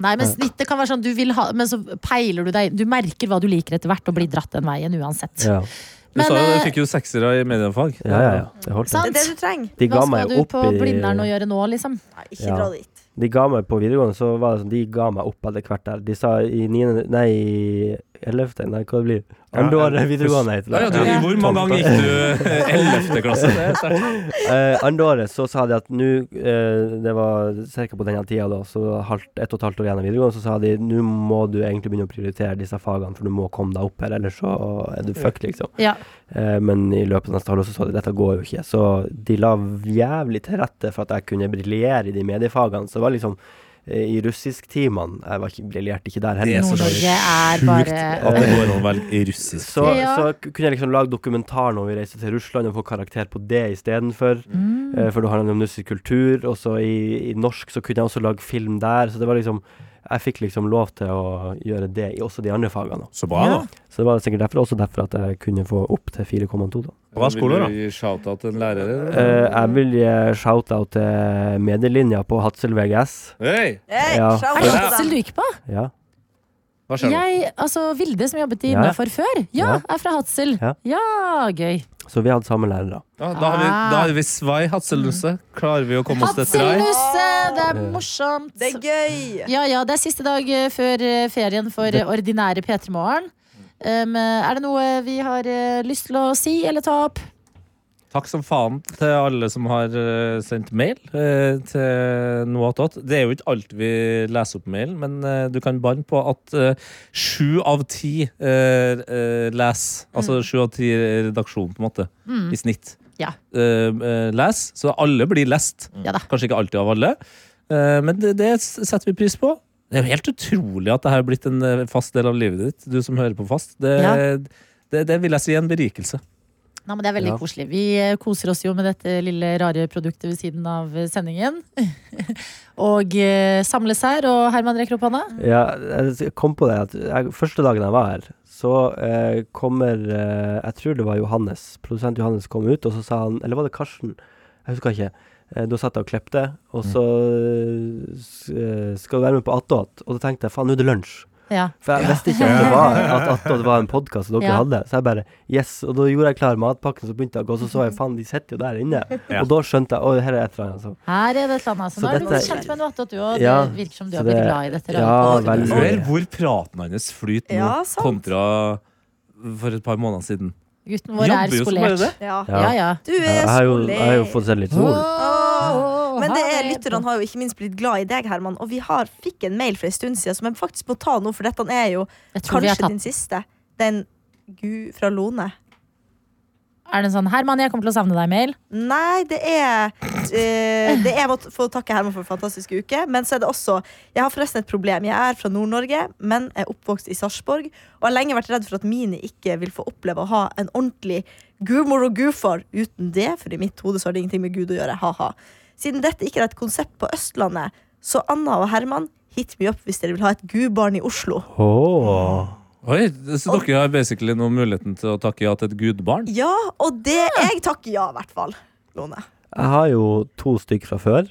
D: Nei, men snittet kan være sånn du vil ha, men så peiler du deg Du merker hva du liker etter hvert, og blir dratt den veien uansett.
E: Ja,
C: Du
D: Men,
C: sa jo du
D: eh,
C: fikk jo seksere i mediefag.
E: ja, ja. ja. Det holdt.
F: Det
D: Sant?
F: er det du trenger.
E: De ga
D: Hva skal
E: meg
D: du
E: opp
D: på Blindern å
E: i
D: gjøre nå, liksom?
F: Nei, ikke
E: Ja.
F: dra dit.
E: De ga meg på videregående, så var det sånn De ga meg opp etter hvert der. De sa i niende Nei, i ellevte Nei, hva det blir Andre
G: Ja,
E: året videregående, heter
C: Ja, ja, du,
E: det.
C: Hvor mange ganger gikk du eh, 11. klasse? Det er sterkt.
E: Eh, andre året så sa de at nå eh, Det var ca. på denne tida, da, så halvt, ett og et halvt år igjen av videregående, så sa de nå må du egentlig begynne å prioritere disse fagene, for du må komme deg opp her, ellers så er du fucked, liksom.
D: Ja.
E: Eh, men i løpet av neste halvår så så de dette går jo ikke, så de la jævlig til rette for at jeg kunne briljere i de mediefagene, så det var liksom eh, i russisktimene Jeg var ikke, briljerte ikke der
C: Det er
E: heller.
C: så
D: Nord-Norge er bare
C: At det går an å velge i russisk.
E: Så,
D: Ja.
E: så k- kunne jeg liksom lage dokumentar når vi reiste til Russland, og få karakter på det istedenfor.
D: Mm.
E: Eh, For det handler om russisk kultur. Og så i, i norsk så kunne jeg også lage film der. Så det var liksom jeg fikk liksom lov til å gjøre det i også de andre fagene.
G: Så bra,
D: Ja.
G: da.
E: Så det var sikkert derfor, også derfor at jeg kunne få opp til 4,2. da.
G: Bra skole, da.
C: Vil du gi shout-out til en lærer? eller?
E: Eh, jeg vil gi shout-out til medielinja på Hadsel VGS.
C: Hei!
F: Hey,
E: Ja.
F: shout
D: Er
F: out
D: det
F: til
D: Hadsel
F: dem.
D: du gikk på?
E: Ja.
C: Hva skjer nå?
D: Jeg, altså Vilde, som jobbet i
E: Ja.
D: Innafor før, ja,
E: Ja.
D: er fra Hadsel.
E: Ja.
D: Ja, gøy.
E: Så vi hadde samme lærere.
C: Ja, da, har vi, da har vi Svai Hatselnusse. Klarer vi å komme oss til Svai?
D: Hatselnusse! Det er
E: Ja.
D: morsomt.
F: Det er gøy.
D: Ja, ja, det er siste dag eh, før eh, ferien for eh, ordinære P3 Morgen. Um, eh, er det noe vi har eh, lyst til å si eller ta opp?
C: Takk som faen til alle som har eh, sendt mail eh, til noatot. Det er jo ikke alt vi leser opp mailen, men eh, du kan banne på at eh, sju av ti eh, eh, leser. Altså sju av ti i redaksjonen, på en måte, i snitt.
D: Mm. Ja.
C: Eh, eh, leser. Så alle blir lest.
D: Ja da.
C: Kanskje ikke alltid av alle, eh, men det, det setter vi pris på. Det er jo helt utrolig at det her er blitt en eh, fast del av livet ditt, du som hører på fast. Det,
D: Ja.
C: det, det vil jeg si er en berikelse.
D: Nei, men det er veldig
E: Ja.
D: koselig. Vi eh, koser oss jo med dette lille rare produktet ved siden av eh, sendingen. og eh, samles her. Og Herman rekker opp hånda.
E: Ja, jeg kom på det at jeg, første dagen jeg var her, så eh, kommer eh, Jeg tror det var Johannes, produsent Johannes kom ut, og så sa han Eller var det Karsten? Jeg husker ikke. Eh, da satt jeg og klepte, og så eh, s- eh, skal du være med på Attåt, og da tenkte jeg faen, nå er det lunsj.
D: Ja.
E: For jeg visste ikke at det var at Attåt var en podkast dere
D: Ja.
E: hadde. Så jeg bare yes. Og da gjorde jeg klar matpakken, så begynte jeg å gå, så så jeg faen, de sitter jo der inne. Og da skjønte jeg å, her er et eller annet. altså. Så.
D: Her er det et eller annet. Så
E: Så
D: nå er du
E: dette-
D: godt kjent med noe annet, du òg. Det
E: Ja,
D: virker som du
E: så
D: har blitt
E: det-
D: glad i dette.
E: Ja,
D: rare produktet.
E: veldig.
C: Hør hvor praten hans flyter nå,
F: Ja, sant.
C: kontra for et par måneder siden.
D: Gutten vår er
C: Jobber jo som bare
D: skolert.
C: det.
F: Ja.
D: Ja, ja.
F: Du er
E: Jeg har jo, jeg har jo
F: skolert.
E: fått sett litt sol.
F: Åh, Men det er, sånn-
D: herlig.
F: lytterne har jo ikke minst blitt glad i deg, Herman. Og vi har, fikk en mail for en stund siden som jeg faktisk må ta nå, for dette er jo
D: Jeg tror vi har
F: kanskje
D: tatt
F: din siste. Den Gu fra Lone.
D: Er det en sånn 'Herman, jeg kommer til å savne deg'-mail?
F: Nei, det er eh, Det er å få takke Herman for en fantastisk uke. Men så er det også Jeg har forresten et problem. Jeg er fra Nord-Norge, men er oppvokst i Sarpsborg. Og har lenge vært redd for at mine ikke vil få oppleve å ha en ordentlig gudmor og gudfar uten det, for i mitt hode så har det ingenting med Gud å gjøre. Ha-ha. Siden dette ikke er et konsept på Østlandet, så Anna og Herman, hit me up hvis dere vil ha et gudbarn i Oslo.
E: Åh.
C: Oi, Så dere har basically nå muligheten til å takke ja til et gudbarn?
F: Ja, og det Jeg takker ja, i hvert fall. Lone.
E: Jeg har jo to stykk fra før.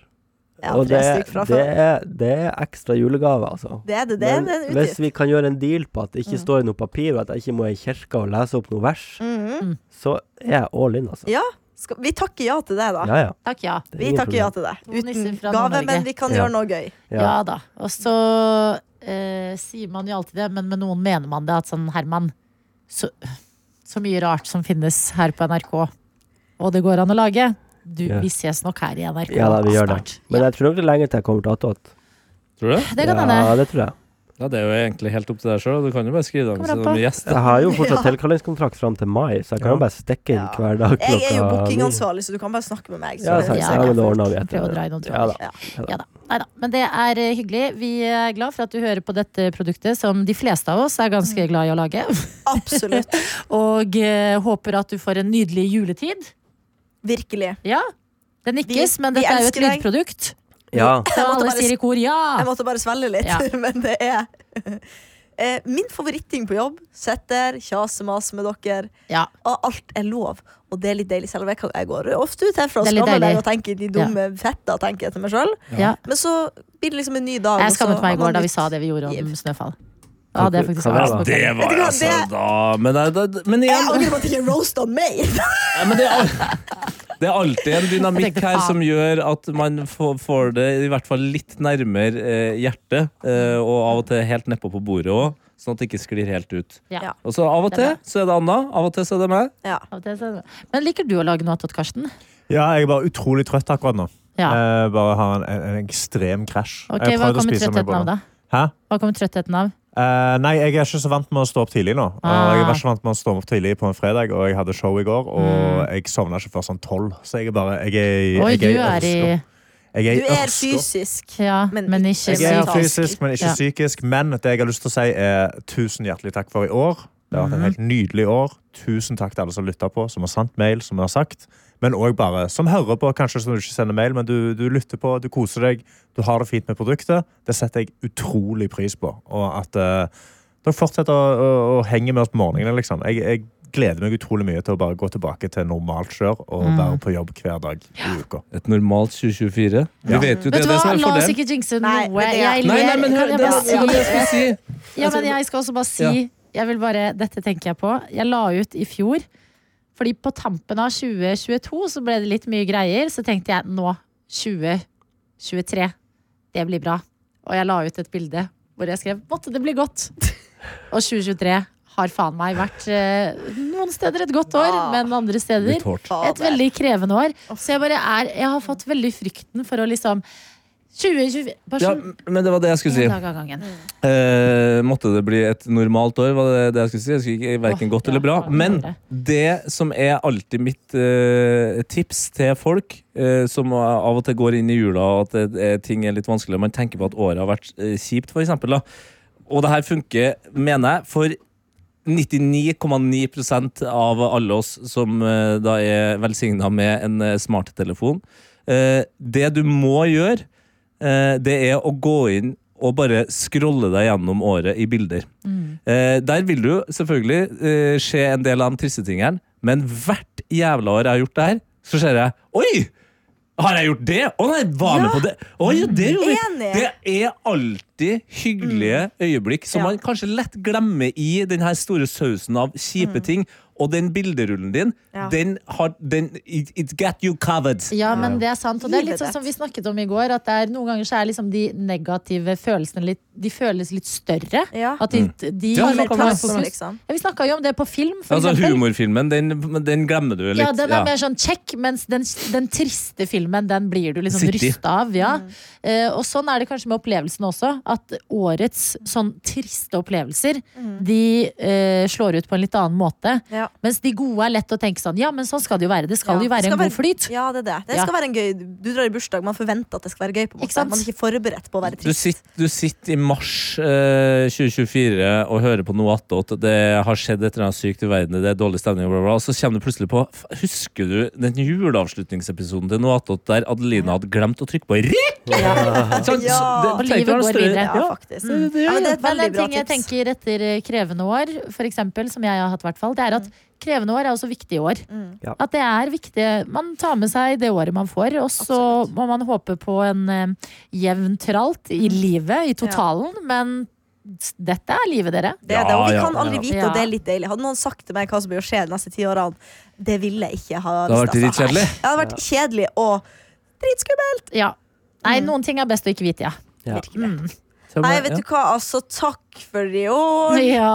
F: Ja,
E: og
F: tre
E: det,
F: stykk fra
E: det,
F: før.
E: er, det er ekstra julegave, altså.
F: Det er det. Det er
E: Men
F: en
E: hvis
F: utgift. Mm.
E: vi kan gjøre en deal på at det ikke står i noe papir, og at jeg ikke må i kirka og lese opp noe vers,
D: Mm.
F: Mhm.
E: så er jeg all in, altså.
F: Ja, skal, vi takker ja til det, da.
E: Ja, ja.
D: Takk, ja.
E: Det er
F: Vi
E: ingen
F: takker ja til
E: problem.
F: det.
D: To nisser
F: Uten
D: fra
F: gave,
D: Nord-Norge.
F: men vi kan
E: Ja.
F: gjøre noe gøy.
D: Ja, da. Og så eh, sier man jo alltid det, men med noen mener man det. At sånn, Herman, så, så mye rart som finnes her på NRK, og det går an å lage. Du,
E: Ja.
D: Vi ses nok her i NRK
E: Ja da, vi gjør det.
D: snart.
E: Men
D: Ja.
E: jeg tror nok det er lenge til jeg kommer til Attåt.
C: Tror du det?
D: Det kan hende.
E: Ja, det tror jeg.
C: Ja, Det er jo egentlig helt opp til deg sjøl. Du kan jo bare skrive deg
D: Kommer an
C: med
D: på.
C: som gjest.
E: Jeg har jo fortsatt tilkallingskontrakt fram til mai, så jeg kan jo bare stikke inn
F: Ja.
E: hver dag klokka
F: Jeg er jo
E: ni.
F: bookingansvarlig, så du kan bare snakke med meg. Så
E: Ja,
F: det
E: sant.
D: Ja,
E: Ja, men det ordner vi
D: Prøv å dra i noen
E: etter. Ja,
D: tråder.
E: da.
D: Ja da. Neida. Men det er eh, hyggelig. Vi er glad for at du hører på dette produktet, som de fleste av oss er
F: Mm.
D: ganske glad i å lage.
F: Absolutt.
D: Og eh, håper at du får en nydelig juletid.
F: Virkelig.
D: Ja. Det nikkes, men
F: vi
D: dette er jo et
F: elsker deg.
D: lydprodukt.
E: Ja.
D: Så
F: måtte
D: alle
F: bare
D: sier i kor ja.
F: Jeg måtte bare svelge litt,
D: Ja.
F: men det er Eh, Min favoritting på jobb. Sitter, kjaser, maser med dere.
D: ja.
F: Og alt er lov. Og det er litt deilig, selv om jeg, kan, jeg går ofte ut herfra og
D: Det er litt
F: skammer
D: deilig.
F: meg og tenker de dumme fetta, tenker jeg til meg sjøl.
D: ja.
F: Men så blir det liksom en ny dag. og
D: Jeg
F: så
D: skammet meg
F: har
D: i
F: man
D: går da vi
F: nytt.
D: sa det vi gjorde om
F: Giv.
D: snøfall. Ja, det er faktisk
E: Hva var
D: angst på
C: Det
D: kvelden.
C: var
F: Vet du hva,
C: altså
F: det-
C: da Men, det, det- men
F: Jeg
C: igjen,
F: angrer på at ikke roasta meg!
C: Nei, men det, er, al- det er alltid en
D: Jeg
C: dynamikk
D: tenkte,
C: her
D: faen.
C: som gjør at man får, får det i hvert fall litt nærmere eh, hjertet, eh, og av og til helt nedpå på bordet òg, sånn at det ikke sklir helt ut.
D: Ja.
C: Og så Av og
D: Det er
C: til så er det Anna, av og til så er det meg.
F: Ja.
D: Av og til så- Men liker du å lage noe attåt, Karsten?
B: Ja, jeg er bare utrolig trøtt akkurat nå.
D: Ja.
B: Jeg bare har en, en, en ekstrem krasj.
D: Ok,
B: Eh, Jeg
D: Hva
B: prøvde å
D: kommer
B: spise meg
D: trøttheten
B: på
D: av,
B: det.
D: da?
B: Hæ?
D: Hva kommer trøttheten av?
B: Eh, nei, jeg er ikke så vant med å stå opp tidlig nå. Og jeg
D: Ah.
B: var ikke vant med å stå opp tidlig på en fredag, og jeg hadde show i går, og jeg sovna ikke før sånn tolv. Så jeg er bare Jeg er, i-
D: Oi,
B: jeg
D: du er i
B: ørska. Jeg er, i
F: Du er
B: ørska.
F: fysisk.
D: Ja,
F: Men
D: men
F: ikke-
D: ikke
B: Jeg er
F: Mentalsk.
B: fysisk, men ikke
D: Ja.
B: psykisk. Men det jeg har lyst til å si er tusen hjertelig takk
D: Mhm.
B: for i år. Det har vært et helt nydelig år. Tusen takk til alle som lytta på, som har sendt mail, som har sagt. men òg bare som hører på, kanskje som du ikke sender mail, men du, du lytter på, du koser deg, du har det fint med produktet. Det setter jeg utrolig pris på. Og at eh, dere fortsetter å, å, å henge med oss på morgenene, liksom. Jeg, jeg gleder meg utrolig mye til å bare gå tilbake til normalt kjør og
D: Mm.
B: være på jobb hver dag i uka.
C: Et normalt 2024. Vi vet jo det,
D: Vet
C: det
D: du
C: er det som
D: hva,
C: er
D: la oss
C: fordelen.
D: ikke jinxe
F: Nei,
D: noe.
F: men det er-
D: Jeg
C: Nei, nei,
D: ler.
C: men hør,
D: Kan
C: det
D: jeg bare
C: var det var det jeg
D: si
C: skulle si.
D: Ja, men jeg skal også bare si Jeg vil bare, Dette tenker jeg på. Jeg la ut i fjor. Fordi på tampen av 2022 så ble det litt mye greier. Så tenkte jeg nå, 2023, det blir bra. Og jeg la ut et bilde hvor jeg skrev 'Måtte det bli godt'. Og 2023 har faen meg vært eh, noen steder et godt år, men andre steder
C: Litt hårt.
D: et veldig krevende år. Så jeg bare er Jeg har fått veldig frykten for å liksom 2024 Bare
C: Ja,
D: sånn
C: men det var det jeg skulle si.
D: en dag av gangen.
C: Eh, måtte det bli et normalt år, var det det jeg skulle si. Jeg skulle ikke Verken
D: Åh,
C: godt
D: ja,
C: eller bra.
D: ja, det
C: Men
D: var det.
C: det som er alltid mitt eh, tips til folk eh, som av og til går inn i jula og at det, er- ting er litt vanskelig, og man tenker på at året har vært eh, kjipt, for eksempel, da. Og det her funker, mener jeg, for 99,9 av alle oss som eh, da er velsigna med en eh, smarttelefon. Eh, Det du må gjøre, eh, det er å gå inn og bare scrolle deg gjennom året i bilder.
F: Mm.
C: Eh, Der vil du selvfølgelig eh, se en del av de triste tingene, men hvert jævla år jeg har gjort det her, så ser jeg Oi! Har jeg gjort det? Å nei, var med på det! Å, ja, det gjorde vi.
F: Enig. Mm.
C: Det er alltid hyggelige øyeblikk som
F: Ja.
C: man kanskje lett glemmer i den her store sausen av kjipe ting. Og den bilderullen din,
F: Mm. Ja.
C: den har den, it, it got you covered.
D: Ja, men det er sant. Og det er litt
F: Livet
D: sånn som vi
F: ditt.
D: snakket om i går, at det er, noen ganger så er liksom de negative følelsene litt De føles litt større.
F: Ja. liksom.
D: At de, de
C: Mm. Ja,
D: har
C: men
D: mer
C: kan man-
D: plass.
F: kan man-
D: Ja, vi snakka jo om det på film, for
C: Altså
D: eksempel.
C: Humorfilmen, den, den glemmer du litt.
D: Ja, den
C: ja.
D: er mer sånn check, mens den, den triste filmen, den blir du liksom
C: Sitter i.
D: rysta av. Ja. Eh, og sånn er det kanskje med opplevelsene også. At årets sånn triste opplevelser, de eh, slår ut på en litt annen måte.
F: Ja.
D: Mens de gode er lett å tenke sånn, ja, men sånn skal det jo være. Det skal
F: Ja.
D: jo være
F: Skal
D: en god flyt.
F: Ja, det er det. Det
D: Ja.
F: skal være en gøy Du drar i bursdag, man forventer at det skal være gøy. på
D: Ikke
F: en måte
D: sant?
F: Man er ikke forberedt på å være
C: Du
F: trist.
C: sitter, du sitter i mars eh, 2024 og hører på noe attåt. Det har skjedd et eller annet sykt i verden, det er dårlig stemning, bla, bla, bla. Og så kommer du plutselig på f- Husker du den juleavslutningsepisoden til noe attåt der Adelina hadde glemt å trykke på RIK?! Sånn,
F: Ja.
C: så-
D: Og
C: det- tenk deg
D: livet
C: å
D: går
C: større-
D: videre.
F: Ja, faktisk. Mm. Ja, men det er
D: Mm.
F: et
D: Men
F: veldig
D: en
F: bra
D: ting jeg
F: tips.
D: tenker etter eh, krevende år, for eksempel, som jeg har hatt hvert fall, det er at
F: Mm.
D: krevende år er også viktige år.
E: Ja.
D: At det er viktig. Man tar med seg det året man får, og så
F: Absolutt.
D: må man håpe på en eh, jevn tralt i
F: Mm.
D: livet, i totalen, men s- dette er livet, dere.
F: Det er det, og vi
C: Ja,
F: kan
C: ja,
F: aldri
C: ja.
F: vite, og det er litt deilig. Hadde noen sagt til meg hva som blir å skje de neste ti årene, det ville jeg ikke ha
C: Det har vært
F: lyst til, altså.
C: dritkjedelig.
F: Det hadde vært kjedelig og dritskummelt.
D: Ja. Nei,
F: Mm.
D: noen ting er best å ikke vite, ja.
F: Nei, vet du hva, altså, takk for i år.
D: ja.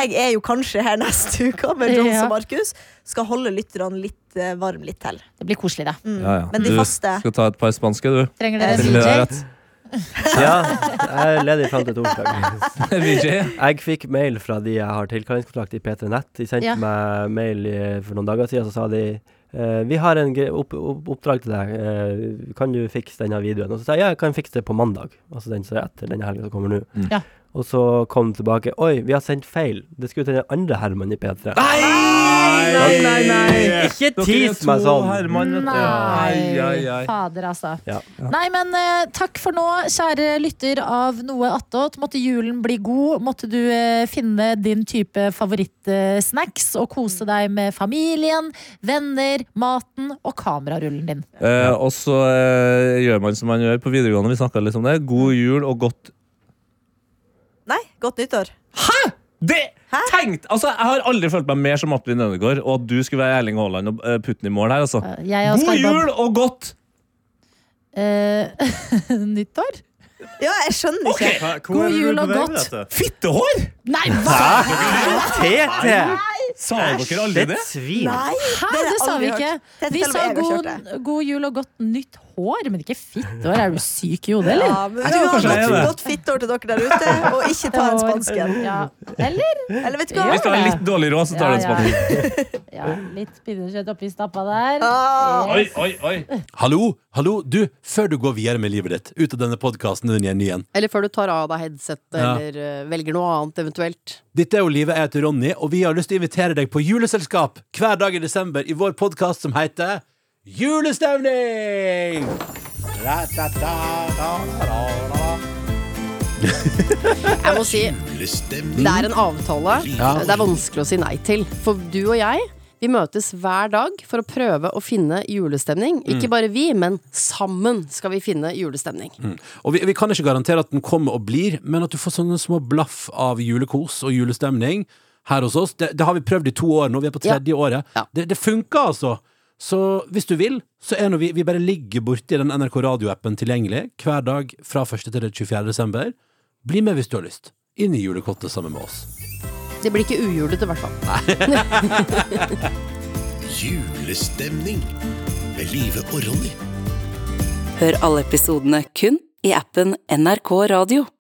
F: Jeg er jo kanskje her neste uke med Jones
D: Ja.
F: og Markus. Skal holde lytterne litt eh, varm litt til.
D: Det blir koselig, da.
F: Mm.
C: Ja, ja.
F: Men de
C: Du
F: faste
C: skal ta et par spanske, du.
D: Trenger
F: Eh,
D: dere
C: Til det
D: DJ?
C: der at-
E: Ja, jeg er ledig fram til torsdag.
C: VJ.
E: Jeg fikk mail fra de jeg har tilkallingskontrakt i P3 Nett. De sendte
D: Ja.
E: meg mail i- for noen dager siden, så sa de eh, vi har en gre- opp, opp, oppdrag til deg, Eh, kan du fikse denne videoen? Og så sa jeg ja, jeg kan fikse det på mandag, altså den som er etter denne helga som kommer nå.
F: Mm.
D: Ja.
E: Og så kom det tilbake oi, vi har sendt feil, det skulle til den andre Herman i P3.
C: Nei, nei, nei!
E: Ikke
C: Dere er
E: tis
C: to
E: meg sånn!
C: Herman, vet du. Ai, ai,
D: Nei,
C: ai.
D: fader altså.
E: Ja.
D: Nei, men eh, takk for nå, kjære lytter av Noe attåt. Måtte julen bli god. Måtte du eh, finne din type favorittsnacks og
C: Mm.
D: kose deg med familien, venner, maten og kamerarullen din.
C: Eh, og så eh, gjør man som man gjør på videregående. Vi snakket litt om det. God
D: Mm.
C: jul og godt
F: Nei, godt nyttår.
C: Det tenkt! Altså, Jeg har aldri følt meg mer som Atlin Ødegaard, og at du skulle være Erling Haaland og eh, putte den i mål her. altså.
D: Eh, Jeg og
C: God
D: Skarbob.
C: jul og godt
D: Eh, nyttår?
F: Ja, jeg skjønner ikke.
D: God jul og godt.
C: fittehår!
D: Nei, hva?
E: TT!
C: Sa dere aldri det?
E: svin!
F: Nei,
D: Hæ,
F: har
D: det
F: jeg
D: sa vi
F: aldri
D: ikke.
F: hørt. Det er
D: Vi
F: selv om
D: sa
F: jeg har
D: god,
F: kjørt
D: god jul og godt nytt hår, men ikke fittehår. Er du syk i hodet, eller?
F: Ja, men
C: tror
F: ja,
C: kanskje det er
F: godt,
C: det.
F: godt fittår til dere der ute, og ikke ta en spansken.
D: Ja. Eller?
F: Eller vet du hva?
C: Hvis du har litt dårlig råd, så tar du en spanning.
D: Ja, litt pinnekjøtt oppi stappa der.
F: Ah.
C: Oi, oi, oi.
H: Hallo, hallo, du, før du går videre med livet ditt, ut av denne podkasten din igjen, igjen.
I: Eller før du tar av deg headsetet,
H: Ja.
I: eller eh, velger noe annet eventuelt.
H: Dette er jo Livet jeg heter Ronny, og vi har lyst til å invitere deg på juleselskap hver dag i desember i vår podkast som heter
C: julestemning!
I: Jeg må si,
J: Julestemning.
I: det er en avtale det er vanskelig å si nei til. For du og jeg, vi møtes hver dag for å prøve å finne julestemning. Ikke bare vi, men sammen skal vi finne julestemning.
C: Og vi, vi kan ikke garantere at den kommer og blir, men at du får sånne små blaff av julekos og julestemning her hos oss. Det, det har vi prøvd i to år nå, vi er på tredje året.
I: Ja.
C: Det, det funker altså! Så hvis du vil, så er nå vi, vi bare ligger borti den NRK radioappen tilgjengelig hver dag fra 1. til den 24. desember. Bli med hvis du har lyst. Inn i julekottet sammen med oss.
I: Det blir ikke ujulete, i hvert fall.
J: Julestemning med Live og Ronny.
K: Hør alle episodene kun i appen NRK Radio.